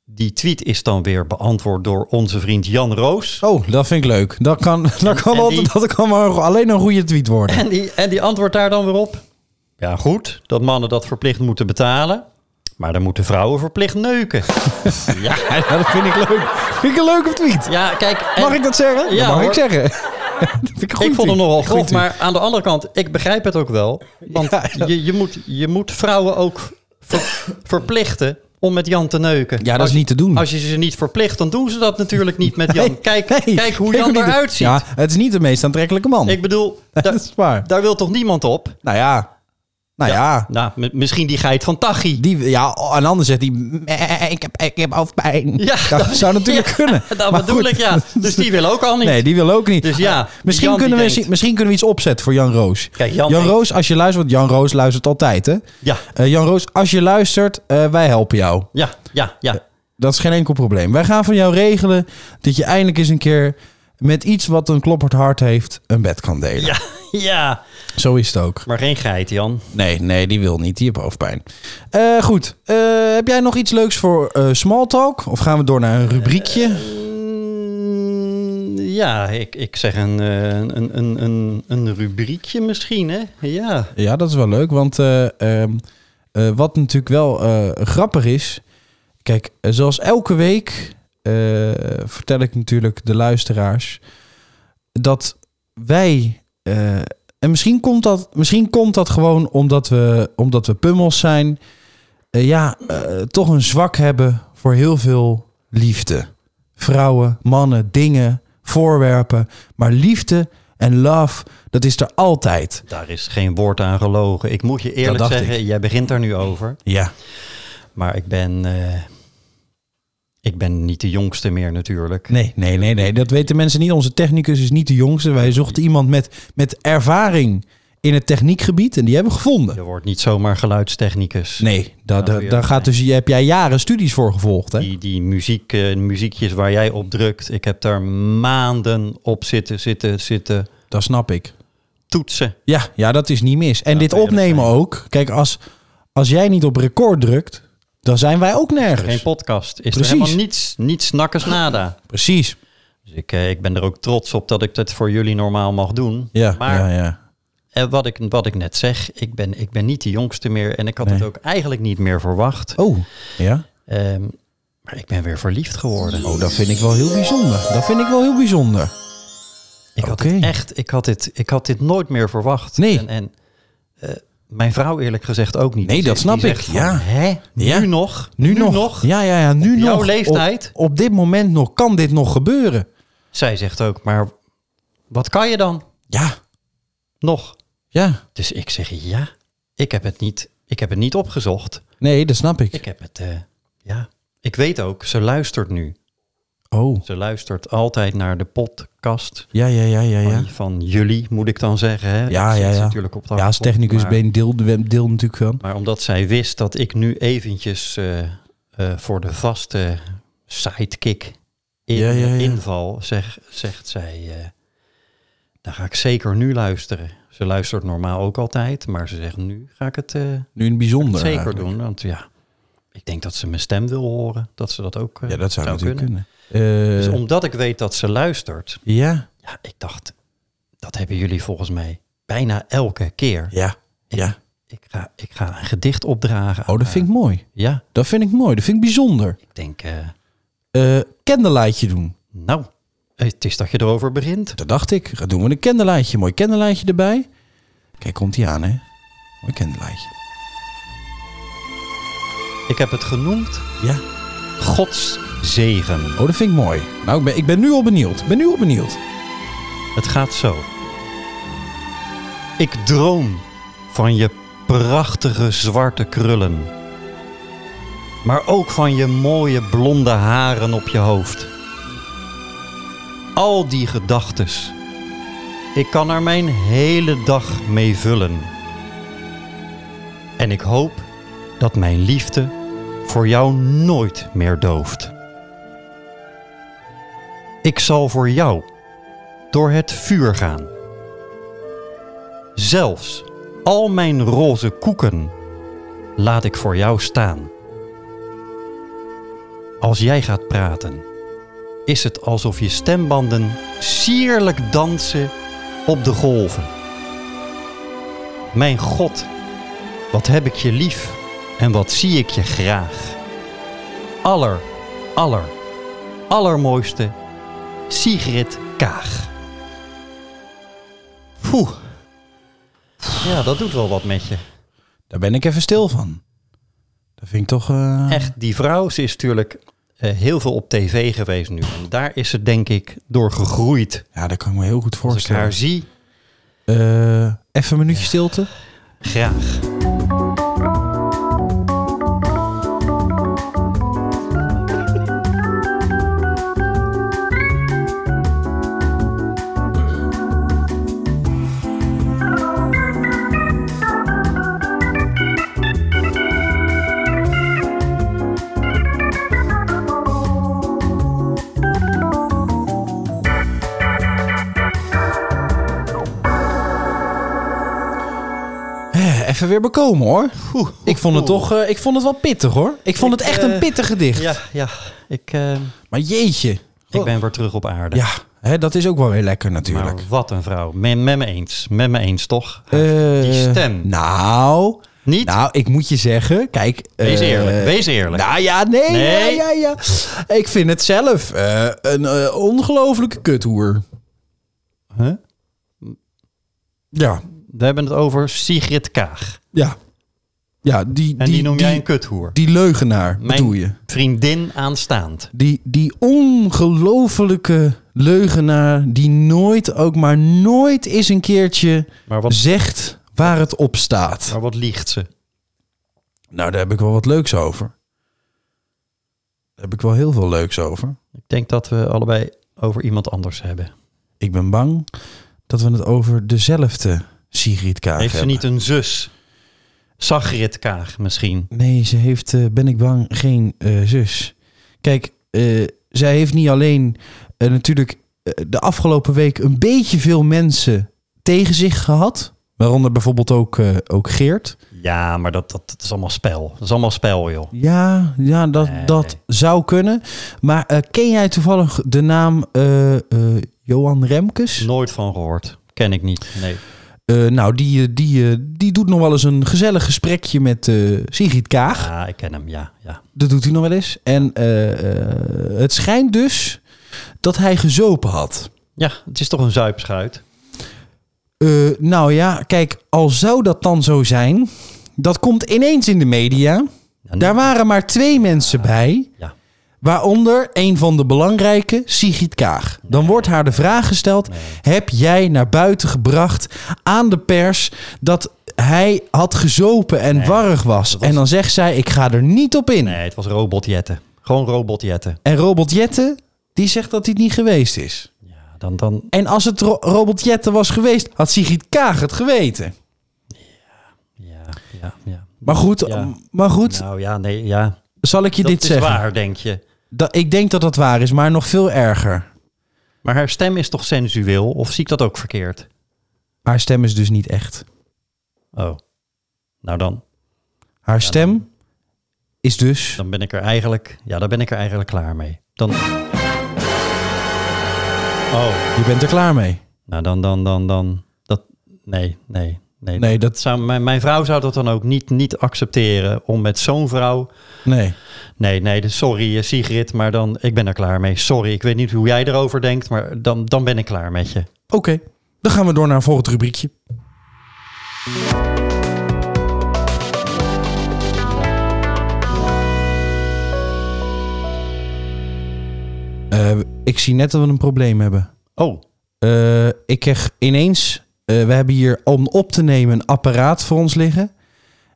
Speaker 2: die tweet is dan weer beantwoord door onze vriend Jan Roos...
Speaker 1: Oh, dat vind ik leuk. Dat kan, dat kan,
Speaker 2: en
Speaker 1: altijd,
Speaker 2: die-
Speaker 1: dat kan maar alleen een goede tweet worden.
Speaker 2: En die, en die antwoordt daar dan weer op. Ja, goed, dat mannen dat verplicht moeten betalen. Maar dan moeten vrouwen verplicht neuken. ja,
Speaker 1: Ja, dat vind ik leuk. Vind ik een leuke tweet.
Speaker 2: ja, kijk. en
Speaker 1: Mag ik dat zeggen? dat
Speaker 2: Ja,
Speaker 1: mag ik
Speaker 2: hoor.
Speaker 1: zeggen. Dat vind
Speaker 2: ik vond hem nogal grof,
Speaker 1: goed.
Speaker 2: maar aan de andere kant, ik begrijp het ook wel. Want
Speaker 1: Ja, ja.
Speaker 2: Je, je, moet, je moet vrouwen ook ver- verplichten om met Jan te neuken.
Speaker 1: Ja, dat
Speaker 2: Als
Speaker 1: is niet te doen.
Speaker 2: je- Als je ze niet verplicht, dan doen ze dat natuurlijk niet met Jan. kijk, kijk hoe Jan eruit ziet.
Speaker 1: Ja, het is niet de meest aantrekkelijke man.
Speaker 2: Ik bedoel,
Speaker 1: dat
Speaker 2: daar-
Speaker 1: is waar.
Speaker 2: daar wil toch niemand op?
Speaker 1: Nou ja. Nou ja.
Speaker 2: Nou, mi- misschien die geit van Tachi.
Speaker 1: Die, ja, en anders zegt hij, "Eh, ik heb, ik heb hoofdpijn.
Speaker 2: Ja,
Speaker 1: dat, zou natuurlijk
Speaker 2: ja,
Speaker 1: kunnen.
Speaker 2: Dat
Speaker 1: Maar
Speaker 2: bedoel
Speaker 1: goed.
Speaker 2: ik, ja. Dus die wil ook al niet.
Speaker 1: Nee, die wil ook niet.
Speaker 2: Dus ja,
Speaker 1: Ah, misschien,
Speaker 2: Jan die
Speaker 1: kunnen we,
Speaker 2: denkt-
Speaker 1: misschien kunnen we iets opzetten voor Jan Roos.
Speaker 2: Kijk, Jan denkt-
Speaker 1: Roos, als je luistert, want Jan Roos luistert altijd, hè?
Speaker 2: Ja,
Speaker 1: Eh, Jan Roos, als je luistert, eh, wij helpen jou.
Speaker 2: ja, ja, ja.
Speaker 1: Dat is geen enkel probleem. Wij gaan van jou regelen dat je eindelijk eens een keer met iets wat een kloppend hart heeft, een bed kan delen.
Speaker 2: Ja, ja.
Speaker 1: Zo is het ook.
Speaker 2: Maar geen geit, Jan.
Speaker 1: Nee, nee, die wil niet. Die heeft hoofdpijn. Eh, goed. Eh, heb jij nog iets leuks voor eh small talk? Of gaan we door naar een
Speaker 2: Eh,
Speaker 1: rubriekje?
Speaker 2: Mm, Ja, ik, ik zeg een, eh, een, een, een, een rubriekje misschien, hè? Ja.
Speaker 1: Ja, dat is wel leuk. Want eh, ehm, eh, wat natuurlijk wel eh, grappig is. Kijk, eh, zoals elke week eh, vertel ik natuurlijk de luisteraars dat wij. eh, en misschien komt, dat, misschien komt dat gewoon omdat we, omdat we pummels zijn. eh, ja, eh, toch een zwak hebben voor heel veel liefde. Vrouwen, mannen, dingen, voorwerpen. Maar liefde en love, dat is er altijd.
Speaker 2: Daar is geen woord aan gelogen. Ik moet je eerlijk
Speaker 1: dacht
Speaker 2: zeggen,
Speaker 1: ik.
Speaker 2: jij begint daar nu over.
Speaker 1: Ja.
Speaker 2: Maar ik ben, eh, ik ben niet de jongste meer natuurlijk.
Speaker 1: Nee, nee, nee, nee. Dat weten mensen niet. Onze technicus is niet de jongste. Wij zochten iemand met, met ervaring in het techniekgebied. En die hebben we gevonden.
Speaker 2: Je wordt niet zomaar geluidstechnicus.
Speaker 1: Nee, daar,
Speaker 2: Nou,
Speaker 1: daar-
Speaker 2: weer.
Speaker 1: daar gaat dus, heb jij jaren studies voor gevolgd. Hè?
Speaker 2: Die, die muziek, eh, muziekjes waar jij op drukt. Ik heb daar maanden op zitten, zitten, zitten
Speaker 1: Dat snap ik.
Speaker 2: toetsen.
Speaker 1: Ja, ja, dat is niet mis. En dit
Speaker 2: kan je dat
Speaker 1: opnemen
Speaker 2: zijn.
Speaker 1: ook. Kijk, als, als jij niet op record drukt, dan zijn wij ook
Speaker 2: Geen
Speaker 1: nergens.
Speaker 2: podcast. Is
Speaker 1: Precies.
Speaker 2: er helemaal niets, niets nakkers nada.
Speaker 1: Precies.
Speaker 2: Dus ik, eh, ik ben er ook trots op dat ik dat voor jullie normaal mag doen.
Speaker 1: Ja,
Speaker 2: maar
Speaker 1: ja, ja.
Speaker 2: eh, wat, ik, wat ik net zeg, ik ben, ik ben niet de jongste meer. En ik had
Speaker 1: Nee.
Speaker 2: het ook eigenlijk niet meer verwacht.
Speaker 1: Oh, ja.
Speaker 2: Ehm, maar ik ben weer verliefd geworden.
Speaker 1: Oh, dat vind ik wel heel bijzonder. Dat vind ik wel heel bijzonder.
Speaker 2: Ik had
Speaker 1: Oké.
Speaker 2: dit echt, ik had dit, ik had dit nooit meer verwacht.
Speaker 1: Nee.
Speaker 2: En, en eh, mijn vrouw eerlijk gezegd ook niet.
Speaker 1: Nee,
Speaker 2: Die
Speaker 1: dat
Speaker 2: zegt-
Speaker 1: snap
Speaker 2: die
Speaker 1: ik.
Speaker 2: zegt
Speaker 1: Ja.
Speaker 2: Van, Hè? Nu
Speaker 1: Ja.
Speaker 2: nog?
Speaker 1: Nu, nog. Ja, ja, ja. Nu
Speaker 2: Op jouw
Speaker 1: nog.
Speaker 2: leeftijd?
Speaker 1: Op, op dit moment nog. Kan dit nog gebeuren?
Speaker 2: Zij zegt ook, maar wat kan je dan
Speaker 1: Ja,
Speaker 2: nog?
Speaker 1: ja.
Speaker 2: Dus ik zeg ja. Ik heb het niet, ik heb het niet opgezocht.
Speaker 1: Nee, dat snap ik.
Speaker 2: Ik heb het, eh, ja. Ik weet ook, ze luistert nu.
Speaker 1: Oh,
Speaker 2: Ze luistert altijd naar de podcast
Speaker 1: ja, ja, ja, ja, ja.
Speaker 2: van, van jullie, moet ik dan zeggen. Hè?
Speaker 1: Ja,
Speaker 2: Ik
Speaker 1: ja,
Speaker 2: zit
Speaker 1: ja.
Speaker 2: Natuurlijk op de
Speaker 1: Ja, als
Speaker 2: achtergrond,
Speaker 1: technicus
Speaker 2: maar-
Speaker 1: ben je deel, deel natuurlijk van.
Speaker 2: Maar omdat zij wist dat ik nu eventjes eh, eh, voor de vaste sidekick in,
Speaker 1: Ja, ja, ja.
Speaker 2: inval, zeg, zegt zij, eh, dan ga ik zeker nu luisteren. Ze luistert normaal ook altijd, maar ze zegt nu ga ik het eh,
Speaker 1: Nu een bijzonder.
Speaker 2: zeker
Speaker 1: eigenlijk.
Speaker 2: doen. Want ja, ik denk dat ze mijn stem wil horen, dat ze dat ook eh,
Speaker 1: Ja, dat zou, natuurlijk kunnen.
Speaker 2: Dus
Speaker 1: Eh,
Speaker 2: omdat ik weet dat ze luistert,
Speaker 1: Ja,
Speaker 2: ja, ik dacht, dat hebben jullie volgens mij bijna elke keer.
Speaker 1: ja, ja.
Speaker 2: Ik, ga, ik ga een gedicht opdragen. aan
Speaker 1: Oh, dat
Speaker 2: haar.
Speaker 1: vind ik mooi.
Speaker 2: Ja,
Speaker 1: Dat vind ik mooi. Dat vind ik bijzonder.
Speaker 2: ik denk... eh,
Speaker 1: Eh kenderlijtje doen.
Speaker 2: Nou, het is dat je erover begint.
Speaker 1: Dat dacht ik. Ga doen we een kenderlijtje. Mooi kenderlijtje erbij. Kijk, komt die aan, hè? Mooi kenderlijtje.
Speaker 2: Ik heb het genoemd
Speaker 1: Ja.
Speaker 2: Gods zegen.
Speaker 1: Oh, dat vind ik mooi. Nou, ik ben, ik ben nu al benieuwd. Ik ben nu al benieuwd.
Speaker 2: Het gaat zo. Ik droom van je prachtige zwarte krullen. Maar ook van je mooie blonde haren op je hoofd. Al die gedachtes. Ik kan er mijn hele dag mee vullen. En ik hoop dat mijn liefde voor jou nooit meer dooft. Ik zal voor jou door het vuur gaan. Zelfs al mijn roze koeken laat ik voor jou staan. Als jij gaat praten, is het alsof je stembanden sierlijk dansen op de golven. Mijn God, wat heb ik je lief en wat zie ik je graag. Aller, aller, allermooiste Sigrid Kaag. Poeh. Ja, dat doet wel wat met je.
Speaker 1: Daar ben ik even stil van. Dat vind ik toch... eh,
Speaker 2: Echt, die vrouw, ze is natuurlijk eh, heel veel op tv geweest nu. En daar is ze denk ik door gegroeid.
Speaker 1: Ja, dat kan ik me heel goed
Speaker 2: Als ik
Speaker 1: voorstellen.
Speaker 2: haar zie,
Speaker 1: Eh, even een minuutje stilte.
Speaker 2: graag.
Speaker 1: Eh, even weer bekomen, hoor. Ik vond het toch... eh, ik vond het wel pittig, hoor. Ik vond
Speaker 2: Ik,
Speaker 1: het echt
Speaker 2: eh,
Speaker 1: een pittig gedicht.
Speaker 2: Ja, ja. Ik, eh,
Speaker 1: Maar jeetje.
Speaker 2: ik ben weer terug op aarde.
Speaker 1: Ja, hè, dat is ook wel weer lekker natuurlijk.
Speaker 2: maar wat een vrouw. Met, met me eens. Met me eens, toch? Nou, Die
Speaker 1: Eh,
Speaker 2: stem.
Speaker 1: Nou,
Speaker 2: Niet?
Speaker 1: nou, ik moet je zeggen, kijk.
Speaker 2: Wees
Speaker 1: eh,
Speaker 2: eerlijk. Wees eerlijk.
Speaker 1: Nou ja, nee,
Speaker 2: Nee.
Speaker 1: Ja, ja, ja. Ik vind het zelf eh, een eh, ongelofelijke kuthoer.
Speaker 2: Huh?
Speaker 1: Ja,
Speaker 2: We hebben het over Sigrid Kaag.
Speaker 1: ja. Ja, die,
Speaker 2: En die,
Speaker 1: die,
Speaker 2: noem
Speaker 1: die,
Speaker 2: jij een kuthoer.
Speaker 1: die leugenaar,
Speaker 2: Mijn
Speaker 1: bedoel je?
Speaker 2: vriendin aanstaand.
Speaker 1: Die, die ongelofelijke leugenaar die nooit, ook maar nooit eens een keertje
Speaker 2: Maar wat,
Speaker 1: zegt waar het op staat.
Speaker 2: maar wat liegt ze?
Speaker 1: Nou, daar heb ik wel wat leuks over. Daar heb ik wel heel veel leuks over.
Speaker 2: Ik denk dat we allebei over iemand anders hebben.
Speaker 1: Ik ben bang dat we het over dezelfde Sigrid Kaag
Speaker 2: Heeft ze
Speaker 1: hebben.
Speaker 2: niet een zus? Sagrit Kaag misschien.
Speaker 1: Nee, ze heeft, eh, ben ik bang, geen eh, zus. Kijk, eh, zij heeft niet alleen eh, natuurlijk eh, de afgelopen week een beetje veel mensen tegen zich gehad. Waaronder bijvoorbeeld ook, eh, ook Geert.
Speaker 2: Ja, maar dat, dat, dat is allemaal spel. Dat is allemaal spel, joh.
Speaker 1: Ja, ja dat,
Speaker 2: Nee.
Speaker 1: dat zou kunnen. Maar eh, ken jij toevallig de naam eh, eh, Johan Remkes?
Speaker 2: Nooit van gehoord. Ken ik niet. Nee.
Speaker 1: Eh, nou, die, eh, die, eh, die doet nog wel eens een gezellig gesprekje met eh, Sigrid Kaag.
Speaker 2: Ah, ik ken hem, ja. ja.
Speaker 1: Dat doet hij nog wel eens. En eh, eh, het schijnt dus dat hij gezopen had.
Speaker 2: Ja, het is toch een zuipschuit.
Speaker 1: Eh, nou ja, kijk, al zou dat dan zo zijn, dat komt ineens in de media.
Speaker 2: Ja, nu-
Speaker 1: Daar waren maar twee mensen bij,
Speaker 2: ja.
Speaker 1: waaronder een van de belangrijke, Sigrid Kaag. Dan wordt haar de vraag gesteld: heb jij naar buiten gebracht aan de pers dat hij had gezopen en warrig was? En dan zegt zij: ik ga er niet op in.
Speaker 2: Nee, het was robotjetten. Gewoon robotjetten.
Speaker 1: En Robert Jetten, die zegt dat hij het niet geweest is.
Speaker 2: Ja, dan, dan,
Speaker 1: En als het Ro- Robert Jetten was geweest, had Sigrid Kaag het geweten.
Speaker 2: ja, ja, ja.
Speaker 1: Maar goed,
Speaker 2: Ja.
Speaker 1: maar goed
Speaker 2: Nou ja, nee, ja.
Speaker 1: zal ik je
Speaker 2: Dat
Speaker 1: dit
Speaker 2: is
Speaker 1: zeggen?
Speaker 2: waar, denk je.
Speaker 1: Dat, ik denk dat dat waar is, maar nog veel erger.
Speaker 2: Maar haar stem is toch sensueel? Of zie ik dat ook verkeerd?
Speaker 1: Haar stem is dus niet echt.
Speaker 2: Oh. Nou dan,
Speaker 1: Haar stem is dus...
Speaker 2: dan ben ik er eigenlijk... Ja, dan ben ik er eigenlijk klaar mee. Dan... Oh.
Speaker 1: Je bent er klaar mee.
Speaker 2: Nou dan, dan, dan, dan. Dat... Nee, nee, nee.
Speaker 1: Nee, dat...
Speaker 2: Zou, mijn, mijn vrouw zou dat dan ook niet, niet accepteren om met zo'n vrouw...
Speaker 1: Nee.
Speaker 2: Nee, nee, dus sorry eh, Sigrid, maar dan... Ik ben er klaar mee. Sorry, ik weet niet hoe jij erover denkt, maar dan, dan ben ik klaar met je.
Speaker 1: Oké, dan gaan we door naar een volgend rubriekje. Eh, ik zie net dat we een probleem hebben.
Speaker 2: Oh,
Speaker 1: Eh, ik kreeg ineens... eh, we hebben hier om op te nemen een apparaat voor ons liggen.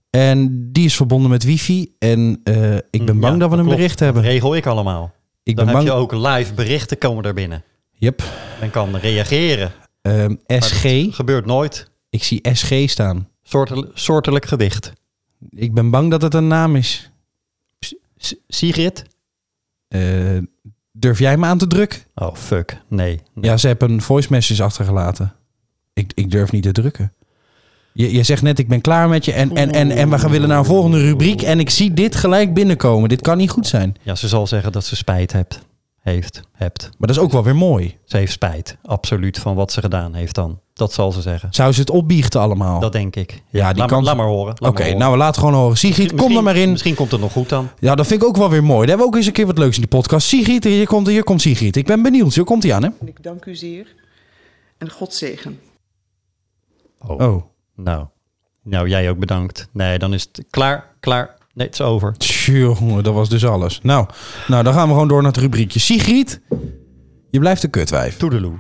Speaker 1: En die is verbonden met wifi. En eh, ik ben
Speaker 2: Mm,
Speaker 1: bang
Speaker 2: ja,
Speaker 1: dat we
Speaker 2: dat
Speaker 1: een
Speaker 2: klopt.
Speaker 1: bericht
Speaker 2: dat
Speaker 1: hebben.
Speaker 2: regel ik allemaal.
Speaker 1: Ik
Speaker 2: dan
Speaker 1: ben
Speaker 2: heb
Speaker 1: bang...
Speaker 2: je ook live berichten komen daar binnen.
Speaker 1: Yep.
Speaker 2: Men kan reageren.
Speaker 1: Ehm, SG.
Speaker 2: Gebeurt nooit.
Speaker 1: Ik zie SG staan.
Speaker 2: Soortel- soortelijk gewicht.
Speaker 1: Ik ben bang dat het een naam is.
Speaker 2: S- Sigrid?
Speaker 1: Eh, durf jij me aan te drukken?
Speaker 2: Oh, fuck. Nee.
Speaker 1: Ja, ze hebben een voice message achtergelaten. Ik, ik durf niet te drukken. Je, je zegt net, ik ben klaar met je en, en, en, en we gaan willen naar een volgende rubriek. En ik zie dit gelijk binnenkomen. Dit kan niet goed zijn.
Speaker 2: Ja, ze zal zeggen dat ze spijt hebt. Heeft. Hebt.
Speaker 1: Maar dat is ook wel weer mooi.
Speaker 2: Ze heeft spijt. Absoluut van wat ze gedaan heeft dan. Dat zal ze zeggen.
Speaker 1: Zou ze het opbiechten allemaal?
Speaker 2: Dat denk ik. Ja,
Speaker 1: die
Speaker 2: laat,
Speaker 1: kans-
Speaker 2: maar, laat maar horen.
Speaker 1: Oké, nou, laat gewoon horen. Sigrid, kom er maar in.
Speaker 2: Misschien komt het nog goed dan.
Speaker 1: Ja, dat vind ik ook wel weer mooi. Daar hebben we ook eens een keer wat leuks in die podcast. Sigrid, hier komt, hier komt Sigrid. Ik ben benieuwd. Hier komt hij aan, hè?
Speaker 4: En ik dank u zeer en God zegen.
Speaker 1: Oh,
Speaker 2: Nou. Nou, jij ook bedankt. Nee, dan is het klaar. Klaar. Nee, het is over.
Speaker 1: Tjonge, dat was dus alles. Nou, nou, dan gaan we gewoon door naar het rubriekje. Sigrid, je blijft een kutwijf.
Speaker 2: Toedeloe.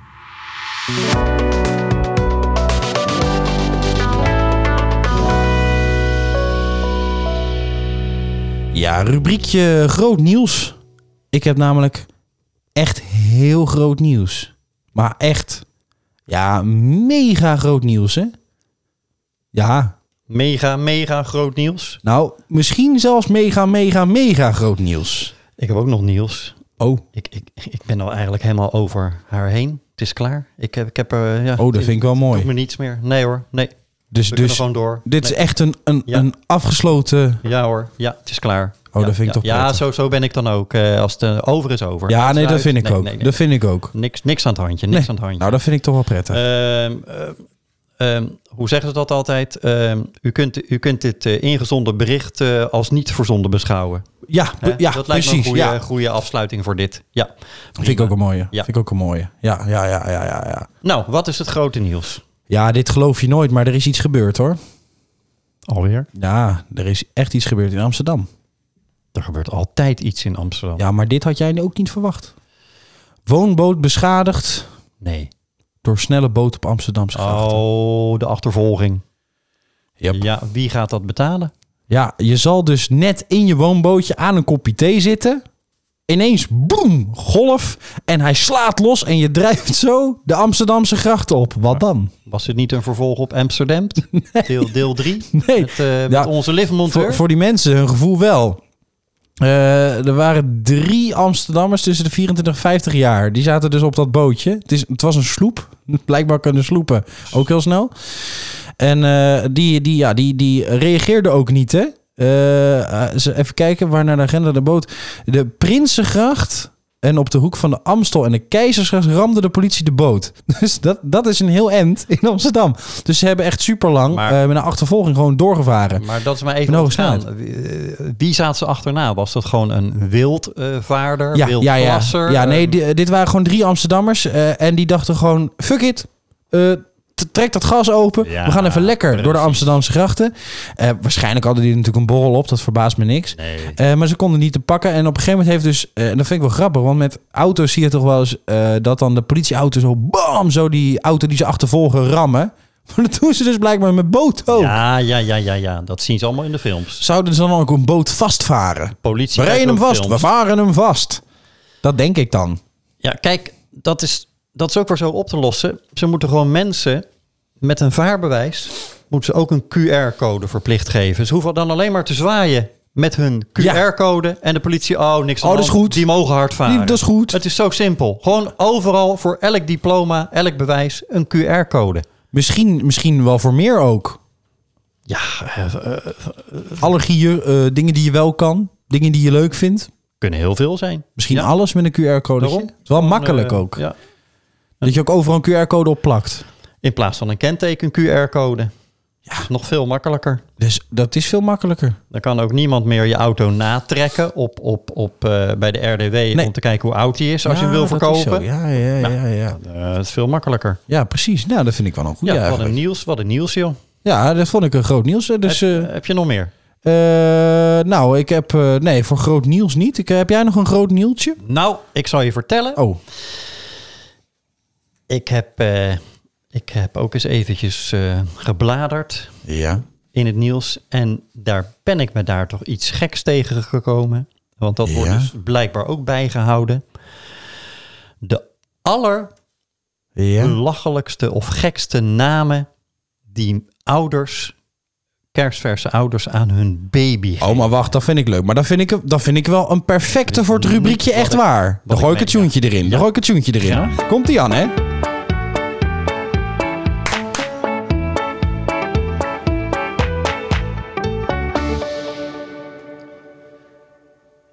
Speaker 1: Ja, rubriekje groot nieuws. Ik heb namelijk echt heel groot nieuws. Maar echt, ja, mega groot nieuws, hè? Ja,
Speaker 2: Mega, mega groot nieuws.
Speaker 1: nou, misschien zelfs mega, mega, mega groot nieuws.
Speaker 2: Ik heb ook nog nieuws.
Speaker 1: Oh,
Speaker 2: Ik, ik, ik ben al eigenlijk helemaal over haar heen. Het is klaar. Ik heb, ik heb er. eh, ja,
Speaker 1: oh dat
Speaker 2: het-
Speaker 1: vind ik wel
Speaker 2: het doet
Speaker 1: mooi.
Speaker 2: me niets meer. Nee hoor. Nee. We
Speaker 1: Dus,
Speaker 2: kunnen
Speaker 1: dus
Speaker 2: gewoon door.
Speaker 1: dit is
Speaker 2: Nee.
Speaker 1: echt een, een,
Speaker 2: Ja.
Speaker 1: een afgesloten...
Speaker 2: Ja hoor. Ja, het is klaar.
Speaker 1: Oh,
Speaker 2: ja,
Speaker 1: dat vind ik
Speaker 2: ja.
Speaker 1: toch
Speaker 2: Ja,
Speaker 1: prettig.
Speaker 2: zo, zo ben ik dan ook. eh, als het eh, over is over. Het
Speaker 1: Ja,
Speaker 2: is
Speaker 1: nee, dat
Speaker 2: uit.
Speaker 1: vind ik
Speaker 2: Nee,
Speaker 1: ook.
Speaker 2: nee, nee.
Speaker 1: Dat vind ik ook.
Speaker 2: Niks, niks aan het handje. Eh, Niks
Speaker 1: Nee.
Speaker 2: aan het handje.
Speaker 1: Nou, dat vind ik toch wel prettig.
Speaker 2: Ehm, eh, ehm, hoe zeggen ze dat altijd? Ehm, u, kunt, u kunt dit eh, ingezonden bericht eh, als niet verzonden beschouwen.
Speaker 1: Ja,
Speaker 2: Hè?
Speaker 1: be- ja
Speaker 2: dat lijkt
Speaker 1: precies.
Speaker 2: me een goede,
Speaker 1: ja.
Speaker 2: goede afsluiting voor dit. Ja.
Speaker 1: Vind ik ook een mooie.
Speaker 2: Ja.
Speaker 1: Vind ik ook een mooie. Ja, ja, ja, ja, ja, ja.
Speaker 2: Nou, wat is het grote nieuws?
Speaker 1: Ja, dit geloof je nooit, maar er is iets gebeurd hoor.
Speaker 2: Alweer?
Speaker 1: Ja, er is echt iets gebeurd in Amsterdam.
Speaker 2: Er gebeurt altijd iets in Amsterdam.
Speaker 1: Ja, maar dit had jij ook niet verwacht. Woonboot beschadigd
Speaker 2: Nee.
Speaker 1: door snelle boot op Amsterdamse grachten.
Speaker 2: Oh, de achtervolging.
Speaker 1: Yep.
Speaker 2: Ja, wie gaat dat betalen?
Speaker 1: Ja, je zal dus net in je woonbootje aan een kopje thee zitten. Ineens, boem, golf. En hij slaat los en je drijft zo de Amsterdamse grachten op. Wat dan?
Speaker 2: Was het niet een vervolg op Amsterdam? Deel, deel 3?
Speaker 1: Nee.
Speaker 2: Met, eh, met
Speaker 1: Ja,
Speaker 2: onze liftmonteur?
Speaker 1: Voor, voor die mensen, hun gevoel wel. Eh, er waren drie Amsterdammers tussen de 24 en 50 jaar. Die zaten dus op dat bootje. Het, is, het was een sloep. Blijkbaar kunnen sloepen ook heel snel. En eh, die, die, ja, die, die reageerde ook niet, hè? Eh, eh, ze- even kijken waar naar de agenda de boot. De Prinsengracht en op de hoek van de Amstel en de Keizersgracht ramde de politie de boot. Dus dat, dat is een heel end in Amsterdam. Dus ze hebben echt super lang
Speaker 2: Maar-
Speaker 1: met een achtervolging gewoon doorgevaren.
Speaker 2: Maar dat is maar even
Speaker 1: Een hoge
Speaker 2: ontstaan. Wie- eh, Wie zaten ze achterna? Was dat gewoon een wildvaarder,
Speaker 1: Ja,
Speaker 2: wild
Speaker 1: ja, ja.
Speaker 2: plasser?
Speaker 1: ja, nee,
Speaker 2: Ehm,
Speaker 1: di- dit waren gewoon drie Amsterdammers. eh, en die dachten gewoon, fuck it. eh, t- trek dat gas open.
Speaker 2: Ja,
Speaker 1: we gaan even lekker door de
Speaker 2: precies.
Speaker 1: Amsterdamse grachten. Eh, waarschijnlijk hadden die natuurlijk een borrel op. Dat verbaast me niks.
Speaker 2: nee.
Speaker 1: Eh, maar ze konden niet te pakken. En op een gegeven moment heeft dus... eh, en dat vind ik wel grappig. Want met auto's zie je toch wel eens... eh, dat dan de politieauto zo bam... Zo die auto die ze achtervolgen rammen. Maar dat doen ze dus blijkbaar met boot ook.
Speaker 2: Ja, ja, ja, ja, ja. Dat zien ze allemaal in de films.
Speaker 1: Zouden ze dan ook een boot vastvaren?
Speaker 2: Politie.
Speaker 1: We
Speaker 2: maakt
Speaker 1: rijden hem
Speaker 2: ook
Speaker 1: vast.
Speaker 2: films.
Speaker 1: We varen hem vast. Dat denk ik dan.
Speaker 2: Ja, kijk, dat is, dat is ook weer zo op te lossen. Ze moeten gewoon mensen met een vaarbewijs... moeten ze ook een QR-code verplicht geven. Ze hoeven dan alleen maar te zwaaien met hun
Speaker 1: Ja.
Speaker 2: QR-code... en de politie, oh, niks
Speaker 1: Oh,
Speaker 2: aan de
Speaker 1: dat is
Speaker 2: hand.
Speaker 1: goed.
Speaker 2: Die mogen hard varen.
Speaker 1: Die- dat is goed.
Speaker 2: Het is zo simpel. Gewoon overal voor elk diploma, elk bewijs... een QR-code.
Speaker 1: Misschien, misschien wel voor meer ook.
Speaker 2: Ja, eh, eh,
Speaker 1: Allergieën, eh, dingen die je wel kan, dingen die je leuk vindt.
Speaker 2: kunnen heel veel zijn.
Speaker 1: Misschien
Speaker 2: Ja,
Speaker 1: alles met een QR-code.
Speaker 2: daarom.
Speaker 1: Het is wel makkelijk
Speaker 2: Eh,
Speaker 1: ook.
Speaker 2: Ja.
Speaker 1: Dat je ook overal een QR-code op plakt.
Speaker 2: In plaats van een kenteken QR-code. Ja. Nog veel makkelijker.
Speaker 1: Dus dat is veel makkelijker.
Speaker 2: Dan kan ook niemand meer je auto natrekken op, op, op, eh, bij de RDW om te kijken hoe oud die is als je hem wil
Speaker 1: Ja, dat is
Speaker 2: verkopen.
Speaker 1: zo. Ja, ja, ja, ja, ja.
Speaker 2: Eh, dat is veel makkelijker.
Speaker 1: Ja, precies. Nou, dat vind ik wel een goede
Speaker 2: Ja,
Speaker 1: ja,
Speaker 2: wat een
Speaker 1: eigenlijk.
Speaker 2: nieuws, wat een nieuws joh.
Speaker 1: Ja, dat vond ik een groot nieuws. hè. Dus,
Speaker 2: heb,
Speaker 1: eh,
Speaker 2: heb je nog meer?
Speaker 1: eh, nou, ik heb... eh, nee, voor groot nieuws niet. Ik, heb jij nog een groot nieuwtje?
Speaker 2: Nou, ik zal je vertellen.
Speaker 1: Oh,
Speaker 2: Ik, heb, eh, ik heb ook eens eventjes eh, gebladerd
Speaker 1: ja.
Speaker 2: in het nieuws. En daar ben ik me daar toch iets geks tegen gekomen. Want dat wordt
Speaker 1: Ja.
Speaker 2: dus blijkbaar ook bijgehouden. De Hmm.
Speaker 1: Ja.
Speaker 2: allerbelachelijkste of gekste namen die ouders, kerstverse ouders, aan hun baby geven.
Speaker 1: Oh, maar wacht, dat vind ik leuk. Maar dat vind ik, dat vind ik wel een perfecte voor het rubriekje echt waar. Dan gooi ik het
Speaker 2: meen, ja.
Speaker 1: tuintje erin.
Speaker 2: Ja.
Speaker 1: Dan gooi ik het tuintje erin.
Speaker 2: Ja.
Speaker 1: Komt die aan, hè?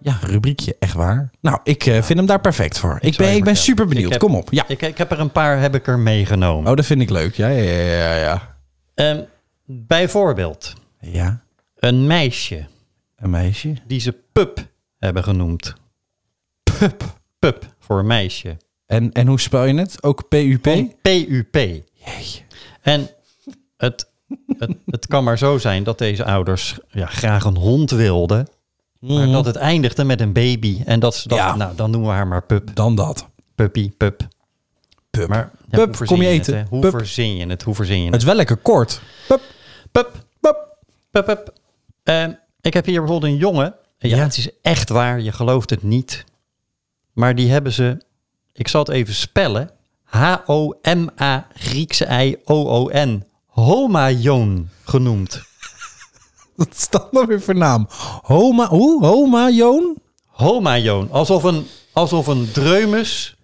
Speaker 1: Ja, rubriekje echt waar. Nou, ik eh, vind hem daar perfect voor. Ik
Speaker 2: zal
Speaker 1: ben,
Speaker 2: je
Speaker 1: ik ben
Speaker 2: vertellen.
Speaker 1: super benieuwd.
Speaker 2: Ik heb-
Speaker 1: Kom op. Ja.
Speaker 2: Ik, ik heb er een paar heb ik er meegenomen.
Speaker 1: Oh, dat vind ik leuk. Ja, ja, ja, ja. Ja.
Speaker 2: Ehm, bijvoorbeeld
Speaker 1: ja.
Speaker 2: een meisje
Speaker 1: Een meisje.
Speaker 2: die ze pup hebben genoemd. Pup. Pup voor een meisje.
Speaker 1: En, en hoe spel je het? Ook PUP?
Speaker 2: Van PUP. En het, het, het kan maar zo zijn dat deze ouders ja, graag een hond wilden. Maar dat het eindigde met een baby. En dat ze dat,
Speaker 1: Mhm. Ja.
Speaker 2: nou, dan noemen we haar maar pup,
Speaker 1: Dan dat.
Speaker 2: puppy, pup.
Speaker 1: Pup.
Speaker 2: Maar ja,
Speaker 1: Pup,
Speaker 2: hoe verzin
Speaker 1: kom je
Speaker 2: Het,
Speaker 1: eten?
Speaker 2: hè? hoe
Speaker 1: Pup.
Speaker 2: verzin je het? Hoe verzin je
Speaker 1: Het
Speaker 2: het?
Speaker 1: is wel lekker kort. Pup,
Speaker 2: Pup,
Speaker 1: pup.
Speaker 2: pup, pup. Ehm, ik heb hier bijvoorbeeld een jongen. Ja,
Speaker 1: Ja.
Speaker 2: het is echt waar. Je gelooft het niet. Maar die hebben ze... Ik zal het even spellen. H-O-M-A Griekse I-O-O-N. Homajoon genoemd.
Speaker 1: Wat is dat nou weer voor naam? Homa, hoe? Homa, Joon?
Speaker 2: Homajoon. Alsof een, alsof een dreumes